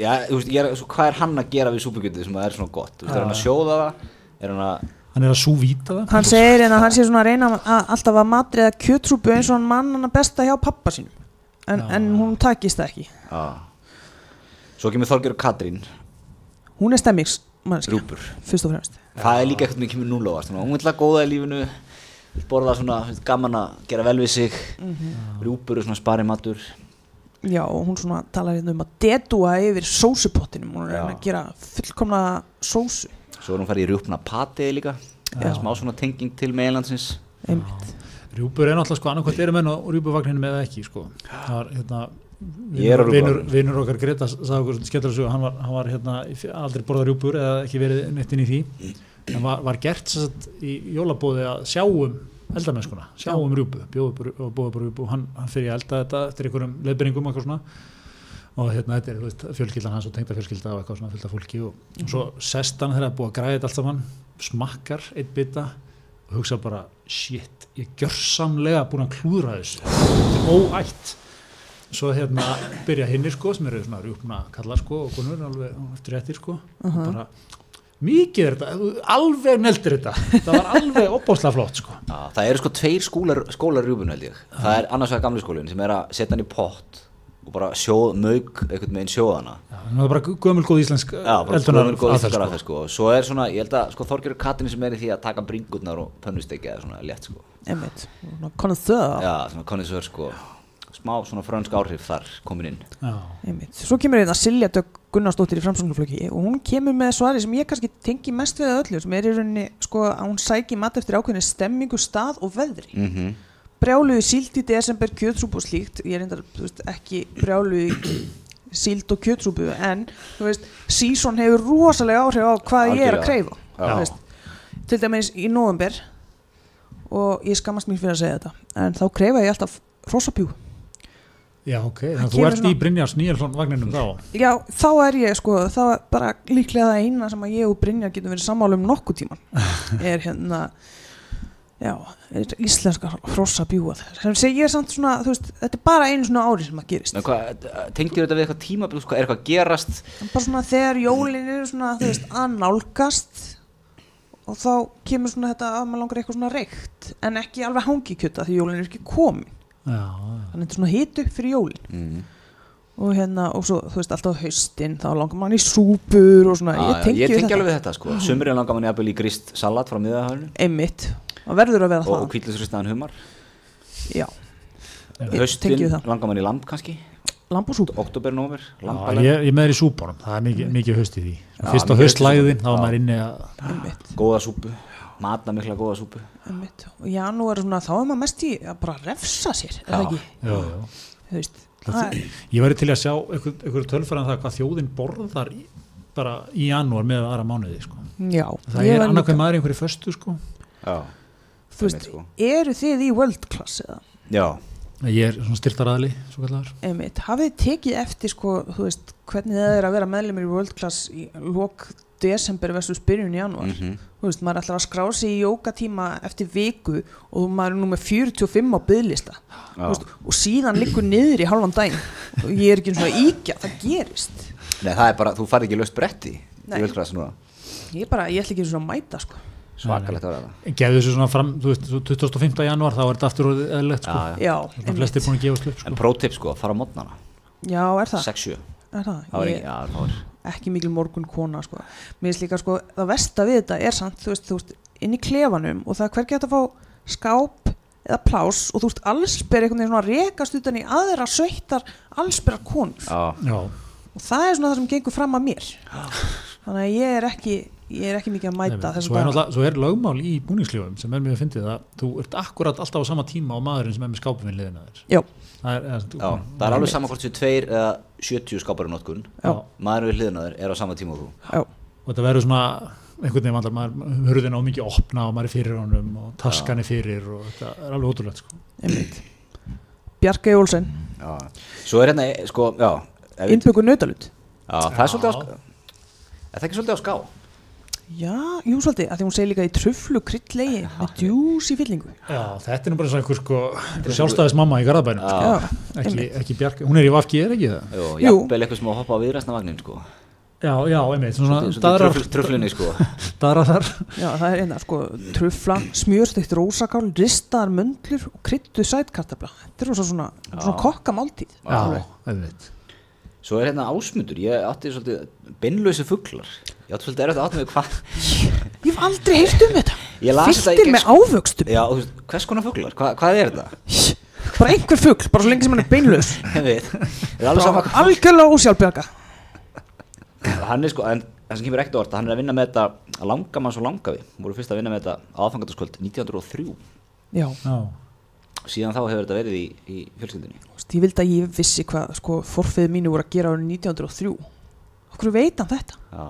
S2: Já, þú veist, ég er, svo, hvað er hann að gera við súpugjötið sem það er svona gott? Þú veist, er hann að sjóða það? Er hann að,
S1: Hann er að súvíta það
S3: Hann segir hérna, hann sé svona að reyna að alltaf að matriða kjötrúpu eins og hann mann hann besta hjá pappa sínum en,
S1: Já.
S3: en hún takist það ekki
S2: já. Svo kemur Þorgjör og Katrín,
S3: Hún er stemmingsmannskja,
S2: rúpur.
S3: fyrst og fremst
S2: Það er líka eitthvað sem kemur núlóast. Hún vil að góða í lífinu, borða svona finnst gaman að gera vel við sig
S1: Mhm.
S2: rjúpur og svona spari matur
S3: Já, og hún svona talar hérna um að dedúa yfir sósupottinum, hún er að
S2: Já.
S3: reyna að gera fullkomna sósu
S2: svo er hún farið í rjúpna patið líka
S3: Já.
S2: smá svona tenging til meðlandsins
S3: einmitt.
S1: Rjúpur er náttúrulega sko annarkvæmt eru menn á rjúpuvagninum eða ekki sko. Það var hérna
S2: Ég er á
S1: vinur, vinur,
S2: rjúpuvagninum.
S1: vinur okkar Greta sagði okkur skemmtilega svo hann var, hann var hérna aldrei borðað rjúpur eða ekki verið neitt inn í því en var, var gert sem sagt í jólabóði að sjáum eldamennskuna sjáum rjúpu, bjóðu upp og bóðu upp rjúpu og hann, hann fyrir að elda þetta eftir einhverjum leiðbyrningum og eitthvað svona og hérna þetta er þú veist, fjölskyldan hans og tengda fjölskylda og eitthvað svona fylgta fólki og, og svo
S2: Mhm.
S1: sest hann þegar að búa að græða þetta allt saman smakkar eitt bita og hugsa bara shit, ég er gjörsamlega búin að klúðra þessu þetta er óætt svo hérna byrja hinnir sko sem eru svona rjúpna kalla sko og konur alveg á eftir réttir sko og
S2: Mhm.
S1: bara mikið er þetta, þú- alveg neldir þetta það var alveg opbóðslega flott sko
S2: Já, það eru sko tveir skólar, skólar rjúpuna held ég það er annars vegar gamli skólinn sem er að setja hann í pott og bara sjóð, mög einhvern veginn sjóðana
S1: Já, en það var bara gömul góð íslensk
S2: Já, bara skoðum góð
S1: aðferð,
S2: íslenskar að það sko Svo er svona, ég held að sko Þorgjörur Katrin sem er í því að taka bringurnar og pönnustekja eða svona létt sko
S3: einmitt, hún er konað þöða
S2: Já, svona konnisör sko Smá svona frönsk áhrif þar komin inn
S1: Já.
S3: einmitt. Svo kemur hérna Silja Dögg Gunnarsdóttir í framsóknarflöki og hún kemur með svari sem ég kannski tengi mest við að öllu sem er í rauninni sko að hún sæki mat eftir ákveðinni stemmingu, stað og veðri
S2: mm -hmm.
S3: brjáluði síld í desember, kjötsúpu og slíkt ég er reyndar, þú veist, ekki brjáluði síld og kjötsúpu en, þú veist, sísón hefur rosalega áhrif á hvað ég er að
S2: Algjörlega.
S3: kreyfa
S2: Já.
S3: þú veist. til dæmis í november og ég skammast mér fyrir að segja þetta en þá kreyfa ég alltaf rosapjú
S1: Já, ok, þannig
S3: Hann
S1: að þú
S3: kemur
S1: ert í
S3: svona-
S1: Brynjars Níelsson vagninum þá
S3: já, þá er ég, sko, þá er bara líklega það eina sem að ég og Brynja getum verið sammála um nokkuð tíman er hérna já, er íslenska hrossabjúa sem segir samt svona, þú veist, þetta er bara einu svona ári sem að gerist
S2: Ná, hvað, tengir þetta við eitthvað tímabil sko, Er eitthvað að gerast
S3: En bara svona þegar jólin eru svona þú veist að nálgast og þá kemur svona þetta að maður langar í eitthvað svona reykt en ekki alveg hangi kjöta því jólin er ekki komin
S1: Já, já,
S3: þannig þetta er svona hit upp fyrir jólin
S2: mm.
S3: og hérna og svo þú veist alltaf á haustin þá langar mann í súpur og svona ég
S2: Ah,
S3: tengi,
S2: Ég
S3: við
S2: tengi alveg við þetta sko Sumurinn langar manni að í gríst salat frá miðaðhörnu
S3: einmitt og verður að vera
S2: Og, og
S3: það
S2: kvítlisrustaðan humar
S3: já, Ég
S2: Höstin
S3: tengi við það.
S2: langar manni lamb kannski
S3: lamb og súpa
S2: Oktober, nómer,
S1: já
S2: lambaleg
S1: ég, ég með þér í súbónum, það er mikið, mikið haust í því Fyrst á
S2: Já, mikið haust í
S1: haustlæðin,
S2: súpunum.
S1: þá var
S2: Já.
S1: maður inni að
S3: einmitt,
S2: Góða súpu, matna mikla góða súpu
S3: einmitt og janúar er svona þá er maður mest í að bara refsa sér er það
S2: Já.
S3: ekki,
S1: já, já.
S3: þú veist
S1: Það-
S3: það er-
S1: Ég væri til að sjá einhver- einhverju tölfæran það hvað þjóðin borðar í, bara í janúar með aðra mánuði sko.
S3: já,
S1: Það
S3: ég
S1: er
S3: var
S1: annarkvæm
S3: líka-
S1: maður í einhverju föstu sko.
S2: Já,
S3: þú veist,
S2: Einmitt, sko.
S3: eru þið í world class eða
S2: já
S1: Ég er svona styrtaraðli svo kallar
S3: Einmitt, hafið þið tekið eftir sko, þú veist, hvernig það er að vera meðlumir í World Class í lok desember versus byrjun í januar
S2: Mhm.
S3: þú veist, maður ætlar að skrá sig í jókatíma eftir viku og maður er nú með 45 á byðlista
S2: Já.
S3: veist, og síðan liggur niður í halvan daginn og ég er ekki eins og að íkja, það gerist
S2: Nei, það er bara, þú farið ekki löst bretti
S3: Nei.
S2: í völdklass núna
S3: ég er bara, ég ætla ekki eins og að mæta sko.
S2: Svakalegt að vera það
S1: Gefðu þessu svona fram, þú veist, 25. janúar þá er þetta aftur orðið eðlilegt sko.
S2: Já,
S3: já,
S1: Það flestir
S3: einmitt.
S1: búin að gefast upp sko.
S2: En prótip sko, fara á mótnana
S3: já, er það,
S2: 6-7
S3: er
S2: Það
S3: það?
S2: var ekki,
S3: Ég,
S2: já, það var
S3: ekki mikil morgun kona sko. mér finnst líka sko, það versta við þetta er samt, þú veist, þú veist, inn í klefanum og það er hvergi hægt að fá skáp eða plás og þú veist, allsber einhvern veginn svona rekast utan í aðra sveittar allsbera konur
S2: Já,
S1: Já,
S3: og það er svona það sem gengur fram að mér þannig að ég er ekki ég er ekki mikið að
S1: nefnir.
S3: mæta
S1: svo,
S3: þessum
S1: er
S3: bara
S1: náttúrulega- svo er lögmál í búningslífum sem er mjög að fyndið að þú ert akkurat alltaf á sama tíma og maðurinn sem er með skápum í liðina þér
S3: já,
S1: Það er, er,
S2: já, það er alveg sama hvort séu tveir eða 70 skápar í notkun
S3: Já.
S2: Maður við hliðina þér er á sama tíma og þú
S3: já,
S1: og þetta verður svona einhvern veginn vandar, maður hurðin á mikið opna og maður er fyrir honum og taskan er fyrir og þetta er alveg ótrúlegt sko.
S3: einmitt Bjarkei Olsen,
S1: Mm.
S2: Já Svo er hérna, eh, sko, já ef við-
S3: innbyggur nautalut
S2: Já, það er
S1: Já.
S2: svolítið á ská Er það ekki svolítið á ská?
S3: já, jú svolítið, að því hún segir líka í truflu krydlegi með djús í fyllingu
S1: Já, þetta er nú bara eins og einhver sko, sjálfstæðis mamma í Garðabænum sko.
S2: Já,
S1: ekki, ekki bjarga, hún er í Vafki, er ekki það?
S2: Jú,
S3: Jú.
S2: jafnvel eitthvað sem á að hoppa á viðræstnavagnin sko
S1: Já, já, einmitt,
S2: Svolítið-
S1: svona
S2: svolítið
S1: daðrar,
S2: trufl- Truflunni sko
S1: daðrar þar
S3: Já, það er einna, sko, trufla, smjörsteikt rósakál, ristaðar möndlur og kryttu sætkartabla. Þetta er rosa svona, svona kokkamáltíð.
S1: Já, einmitt
S2: Svo er hérna ásmundur, ég átti svolítið beinlausi fuglar Ég átti svolítið erfitt að átta mig hvað
S3: Ég hef aldrei heyrt um þetta.
S2: Ég las þetta í
S3: fylltir með
S2: gegn-
S3: ávöxtum
S2: Já, og þú veist, hvers konar fuglar? Hva, hvað er þetta?
S3: bara einhver fugl, bara svo lengi sem hann er beinlaus
S2: Ég veit, það er alveg sama hvað
S3: algjörlega ósjálfbjarga
S2: Hann er sko, en það sem kemur ekkert á orð Hann er að vinna með þetta, langa mann svo langa við Voru fyrst að vinna með þetta aðfangandaskvöld 1903
S3: já,
S1: Já.
S2: Síðan þá hefur þetta verið í, í fjölskyldinni
S3: þú veist, ég vildi að ég vissi hvað sko, forfið mínu voru að gera árið 1903 okkur veit hann þetta
S2: Já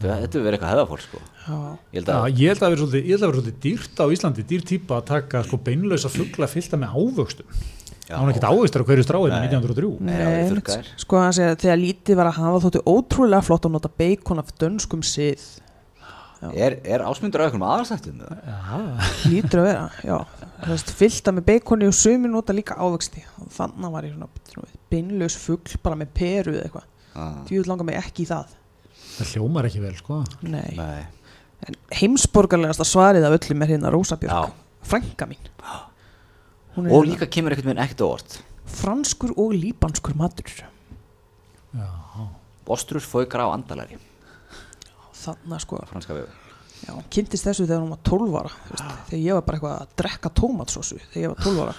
S2: Þetta þetta hefur verið eitthvað hefðafólk sko
S3: já,
S2: Ég held
S1: Já,
S2: að
S1: ég held að vera svolítið, ég held að vera svolítið dýrt á Íslandi, dýr típa að taka sko beinlausa fuggla fyllta með ávöxtum.
S2: Já.
S1: Það var ekkert ávöxtur á hverju strái með
S2: Nei.
S1: 1903.
S2: Nei, það voru
S3: Nei,
S2: þurrkaðir.
S3: sko hann segja þegar lítið var að hafa þóttu ótrúlega flott að nota bacon af dönskum sið
S2: er, er ásmyndur á einhverjum aðalstættum eða?
S3: lítur að vera, já þú veist, fylta með baconi og sumi nota líka ávexti og þannig var ég svona beinlaus fugl bara með peru eða eitthvað
S2: Ah,
S3: djúð langar mig ekki í það
S1: Það hljómar ekki vel, sko.
S3: Nei.
S2: Nei
S3: en heimsborgarlegasta svarið af öllum er hérna Rósa Björk,
S2: Já.
S3: frænka mín hún
S2: Og
S3: hérna
S2: líka kemur ekkert með ekkert á orð
S3: franskur og líbanskur matur
S2: Ostrur, fókra og andalari
S3: þannig sko,
S2: Franska vefu
S3: já, hún kynntist þessu þegar hún var 12 ára þú veist,
S2: Ah.
S3: þegar ég var bara eitthvað að drekka tómatsósu þegar ég var 12 ára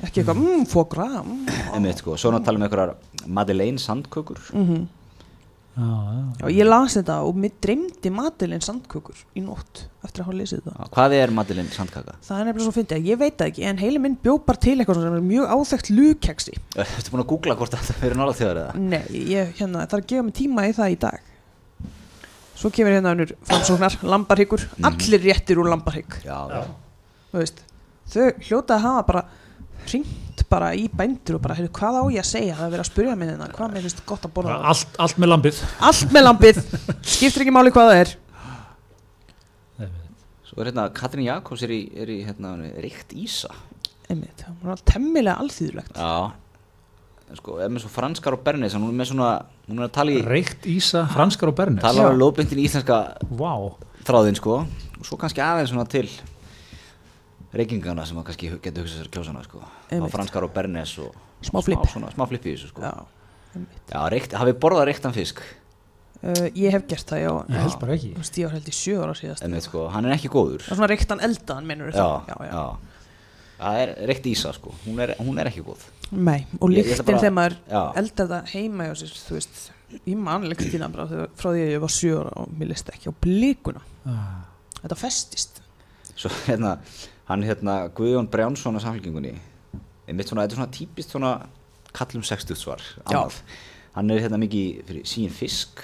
S3: ekki eitthvað, mmm, fókra mm.
S2: Einmitt sko, svo er hann að tala um einhverjar Madeleine sandkökur
S1: Já, já.
S3: já, ég las þetta og mér dreymdi matilinn sandkökur í nótt eftir að hafa lesið þetta
S2: Já, Ah, Hvað er Madeleine sandkaka?
S3: það er nefnilega svo fyndið að ég veit það ekki en heili minn bjó bara til eitthvað sem er mjög áþekkt lúkeksi
S2: Ertu búin að googla hvort þetta verður nála þjóðar eða?
S3: Nei, ég hérna, það er að gefa mig tíma í það í dag Svo kemur hérna unnur framsóknar, lambarhyggur Allir réttir úr lambarhygg
S2: Já, já.
S3: Þú veist, Þau hljóta að hafa bara hringt bara í bændur og bara heyrðu, hvað á ég að segja, það er verið að spyrja mig hérna hvað mér finnst gott að borða
S1: Bara Allt, allt með lambið.
S3: allt með lambið, skiptir ekki máli hvað það er
S2: Svo er hérna Katrín Jakobs er í, er í hérna, hún er ríkt Ísa
S3: einmitt, það er temmilega alþýðulegt
S2: Já En sko, er með svo franskar og bernis hún er með svona, hún er að tala í
S1: Reykt ísa, franskar og bernis.
S2: tala á
S3: Já.
S2: lóðbindin í íslenska
S1: Vá.
S2: þráðin sko og svo kannski aðeins svona til reykingana sem að kannski hu- getur hugsað sér kjósana sko
S3: Einmitt.
S2: Einmitt. franskar og bernis og
S3: Smá flipp.
S2: smá, svona, smá flip í þessu sko
S3: Já,
S2: Já,
S3: einmitt
S2: reykt, hafið borðað reyktan fisk
S3: uh, Ég hef gert það, já
S1: Ég held bara ekki.
S3: Þú veist, Ég var held í sjö ára síðast
S2: en sko, hann er ekki góður
S3: Það er svona reyktan eldan, menur
S2: já,
S3: það
S2: já, það er reykt ísa sko hún er, hún er ekki góð
S3: Nei, og
S2: Ég- ég ætla
S3: líktinn
S2: bara-
S3: þegar maður
S2: Já.
S3: eldar það heima hjá sér, þú veist, ég man líktina bara þegar- frá því að ég var sjö ára og mér listi ekki á blíkuna.
S1: Ah.
S3: Þetta festist.
S2: svo hérna, hann hérna Guðjón Brjánsson að samfélkingunni einmitt svona, þetta er svona típist svona kallum 60 svar annað. hann er hérna mikið fyrir sín fisk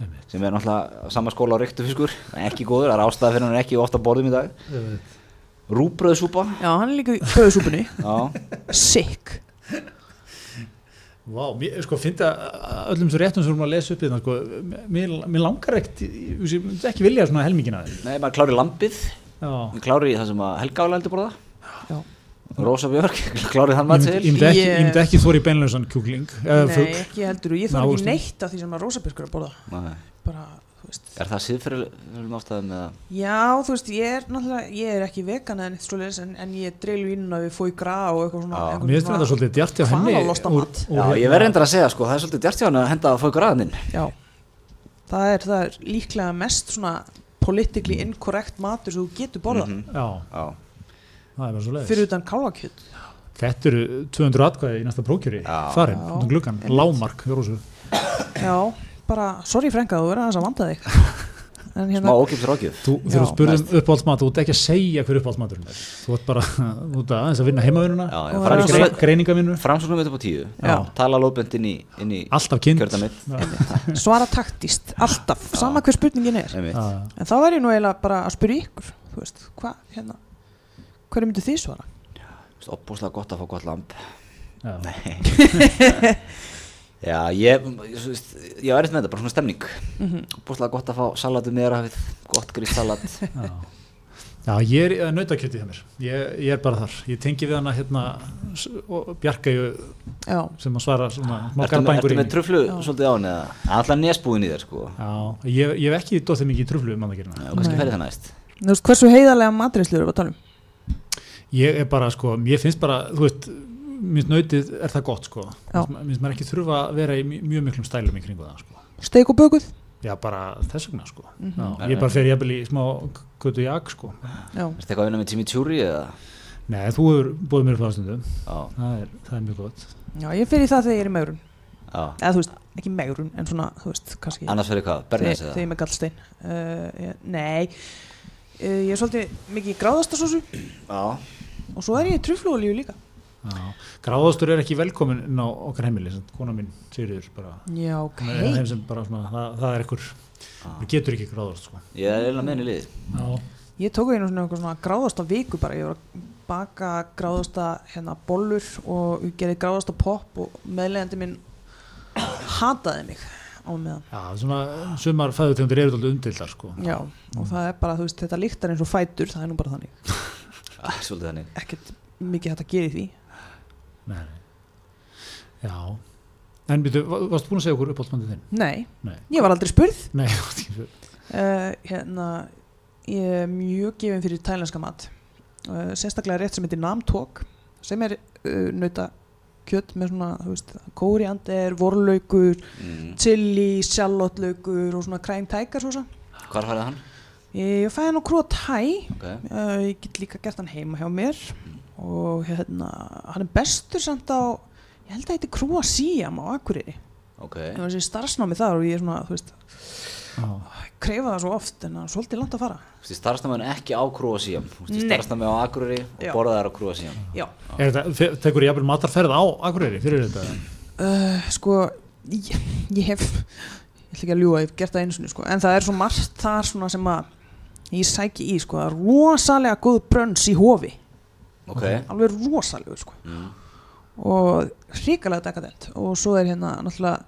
S1: Einmitt.
S2: sem er náttúrulega á sama skóla á reyktu fiskur hann er ekki góður, það er ástæða fyrir hann er ekki ofta að borðum í dag rúbröðsúpa
S3: Já, hann er líka í föðsúpunni,
S2: já,
S3: sick.
S1: Vá, mér, sko, finna öllum svo réttum sem við erum að lesa upp þetta, sko, mér, mér langar ekkert, ég ég myndi ekki vilja svona helmingina þeim.
S2: nei, maður klári lambið
S1: Já.
S2: maður klári það sem að Helga álega heldur borða
S3: Já.
S2: Rósa Björk, klári þann
S1: Ég
S2: maður
S1: myndi, ég
S2: til eh,
S1: myndi ekki,
S3: Ég-
S1: ég myndi ekki þóri beinlausan kjúkling, eða
S3: Nei,
S1: fugg.
S3: ekki heldur og ég
S1: Ná,
S3: þarf ekki
S1: veist.
S3: neitt af því sem að rósabyrkur er að borða.
S2: Nei.
S3: Bara, þú veist,
S2: er það síðfyrirlum ástæðum eða
S3: já, þú veist, ég er náttúrulega, ég er ekki vegan eða neitt svoleiðis en, en ég dreilu ínuna við fói grá og eitthvað svona.
S2: Já.
S3: einhvern
S1: Mér finnst
S3: svona-
S1: þetta svolítið djart hjá henni.
S3: Hvalalosta
S1: úr-
S3: mat.
S1: úr
S2: já,
S1: hérna-
S2: ég verði endur að segja sko, það er svolítið djart hjá hann að henda að fóðu graðaninn
S3: Já, það er, það er líklega mest svona politically incorrect matur sem þú getur borðað.
S1: Já,
S2: Mhm. já,
S1: það er bara svo leiðis.
S3: fyrir utan kálvakjöt
S1: Þetta eru 200 atkvæði í næsta prókjöri,
S2: Já.
S1: farin,
S3: Já.
S1: út um gluggan,
S3: Einmitt.
S1: lámark, Jórósu.
S3: já, bara, sorry frænka þú verður aðeins að vanda þig en
S2: smá
S3: hérna,
S2: ógipt rákjöf
S1: Þú,
S3: Já.
S1: þegar þú spurðum uppáhaldsmat, þú ert ekki að segja hver uppáhaldsmaturinn er. Þú ert bara, þú ert aðeins að vinna heimavinnuna,
S2: Já, já,
S3: Og
S2: fara
S3: Rósa-
S2: í
S1: grei,
S2: grein-
S1: greiningavinnu,
S2: Framsóknum upp á tíu,
S3: Já.
S2: tala lóðbönd inn í, inn í
S1: alltaf kind.
S2: kjördamið
S3: svara taktist alltaf, sama hver spurningin er
S2: einmitt.
S1: Já, já.
S3: en þá er ég nú eiginlega bara að spyrja ykkur þú veist, hvað, hérna hverju myndu þið svara?
S2: Þú veist, opbúslega gott að fá gott lamb
S1: Já.
S2: Já, ég, ég, þú veist, ég var eftir með þetta, bara svona stemning mm
S3: Mhm.
S2: gott að fá salatu meira hafið, gott grísalat
S1: Já, já ég er eh, nautakjötið hjá mér, ég, ég er bara þar ég tengi við hana hérna s- og Bjarka
S3: já,
S1: sem að svara svona smá
S2: Ertu með,
S1: garbangur
S2: ertu
S1: í
S2: með
S1: mig.
S2: truflu svolítið á hann eða? Það er alltaf nesbúin í þér sko
S1: Já, ég, ég hef ekki dóttið mikið í truflu um andakirna.
S2: Já, kannski
S3: Nei.
S2: ferði það næst
S3: þú veist, hversu heiðarlega matreislu eru við að tala um?
S1: Ég er bara sko, ég finnst bara, þú veist minnst nautið er það gott sko
S3: Já.
S1: minnst maður ekki þurfa að vera í mj- mjög miklum stælum í kringu það sko.
S3: steik og bökuð?
S1: já bara þess vegna sko
S3: Mhm.
S1: já, ég bara fer jafnvel í smá kvötu jakk sko
S3: já,
S2: Ertu eitthvað að vinna með Timmy Tjúri eða?
S1: nei þú hefur búið mér frá stundum
S2: Já,
S1: það er, það er mjög gott
S3: já, ég fyrir það þegar ég er í megrun
S2: já.
S3: eða þú veist, ekki megrun, en svona þú veist, kannski
S2: Annars fyrir hvað? Bernes
S3: þegar,
S2: eða?
S3: þegar ég er með gallstein uh, ég, nei uh, ég er svolítið mikið í gráðastasósu
S2: Já.
S3: og svo er ég í trufluolíu líka
S1: já. gráðastur er ekki velkomin inn á okkar heimili sem kona mín Sigriður bara
S3: já, ok
S1: Hún er þeim sem bara svona, það, það er ekkur hún getur ekki gráðast sko
S2: Ég er eiginlega með henni í liði.
S1: já,
S3: Ég tók einu svona, eitthvað svona gráðasta viku bara, ég var að baka gráðasta hérna bollur og gerði gráðasta popp og meðlegandi minn hataði mig á meðan.
S1: já svona sumar fæðutegundir eru alltaf umdildar sko
S3: Já, og það er bara, þú veist, þetta líktar eins og fætur, það er nú bara þannig.
S2: Já, Ah, Svolítið þannig.
S3: Ekkert mikið hægt að gera í því.
S1: nei, nei. já en býtu, va- varstu búin að segja okkur uppáhaldsmandið þinn?
S3: Nei,
S1: Nei.
S3: ég var aldrei spurð.
S1: Nei, ég átti ekki fyrir-
S3: Uh, hérna, ég er mjög gefin fyrir tælenska mat. Uh, sérstaklega rétt sem heitir namtók, sem er uh, nauta kjött með svona, þú veist, kóriander, vorlaugur,
S2: Mm.
S3: chili, sjallottlaugur og svona crime tiger sósa.
S2: Hvar færði hann?
S3: Ég fæði hann á króa tæ,
S2: Ok.
S3: uh, ég get líka gert hann heima hjá mér og hérna, hann er bestur samt á, ég held að þetta er króa síam á Akureyri.
S2: Ok.
S3: Ég var þessi starfsnámi þar og ég er svona, þú veist,
S1: Já.
S3: kreifa það svo oft en það er svolítið langt að fara.
S2: Þú starfst með hann ekki á Kroasíum. Þú
S3: Nei.
S2: starfst með á Akureyri og
S3: Já.
S2: borðaði á Kroasíum.
S3: Já,
S1: Er þetta, fe- tekur jafnvel matarferð á Akureyri fyrir þetta?
S3: uh, sko, ég, ég hef, ég ætla ekki að ljúa, ég hef gert það einu sinni, sko, en það er svo margt þar svona sem að ég sæki í, sko, það er rosalega góð brönns í hofi,
S2: Ok.
S3: alveg rosalegu, sko.
S2: Mm.
S3: og hrikalega dekadent og svo er hérna náttúrulega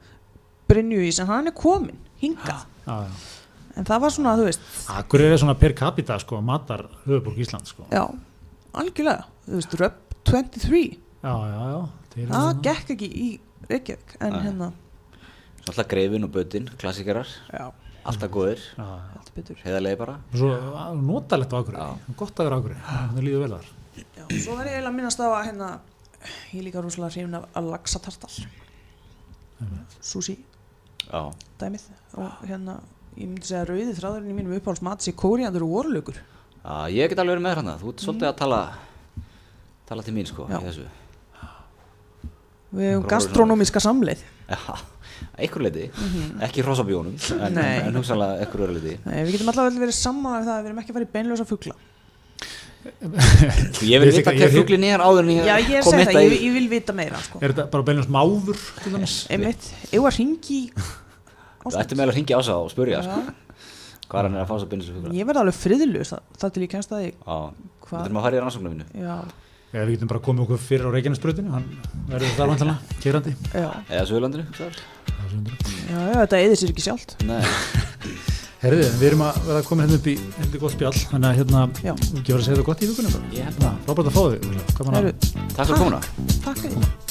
S3: Brynju sem hann er komin hingað,
S1: Já, já.
S3: en það var svona þú veist,
S1: Akureyri er svona per capita sko, matar höfuborg Ísland sko.
S3: já, algjörlega þú veist, Röp 23
S1: Já, já, já. til hérna. er
S3: það
S1: það.
S3: gekk ekki í Reykjavík en
S2: Nei.
S3: hérna,
S2: Svo alltaf greifin og bötinn, klassikarar.
S3: já,
S2: Alltaf góðir.
S1: Já, já.
S3: heldur betur
S2: Heiðarlegi bara.
S1: Svo á, notalegt á Akureyri.
S2: Já.
S1: Gott að vera á Akureyri. Það líður vel þar.
S3: já, svo verð ég eiginlega að minnast á að hérna ég er líka rosalega hrifin af að laxatartal sushi
S2: Já.
S3: dæmið og hérna ég myndi segja að rauði þráðurinn í mínum uppáhaldsmat sé kóriandur og vorlaugur
S2: Já, Ah, ég get alveg verið með hann Þú ert svolítið að tala, tala til mín sko.
S3: Já.
S2: í þessu.
S3: við hefum
S2: Gróður-
S3: gastronómiska samleið
S2: Já, að einhver leiti, ekki hrosabjónum, en,
S3: Mhm. Nei.
S2: en hugsanlega einhver öðru leiti.
S3: Nei, við getum allavega verið saman af það að við erum ekki að fara í beinlösa fugla.
S2: Sko, ég vil
S1: Ég
S2: vita
S1: þykir-
S2: hver
S1: ég-
S2: fuglin er áður en
S3: Já, ég
S2: ég kom
S3: segi
S2: mitt
S3: það,
S2: að
S3: ég,
S2: í.
S3: ég vil vita meira, sko.
S1: Er þetta bara beinast máfur? til dæmis?
S3: Einmitt, ef að ringi
S2: Þú ættum meðal að ringja á það og spurja, sko, hvað hann er að fá þess að binda þessu fugla.
S3: Ég verði alveg friðlus þar til ég kemst að ég,
S2: Já,
S3: Hvað?
S2: við þurfum að fara í rannsóknum mínu.
S3: já,
S1: Eða við getum bara komið okkur fyrir á Reykjanesbrutinu. Hann verður þar vantilega, kerandi.
S3: já,
S2: Eða Suðurlandinu, hugsaður?
S3: já, já, þetta eðir sér ekki sjálft.
S2: Nei,
S1: Herðið, við erum að vera að koma hérna upp í heldur gott spjall. Þannig að hérna,
S3: Já.
S1: ekki verið að segja það gott í Hérna, vikunum. bara.
S2: Ég held
S1: Frábært að fá þig. Gaman að-
S3: Heru,
S2: takk fyrir komuna.
S3: Takk fyrir.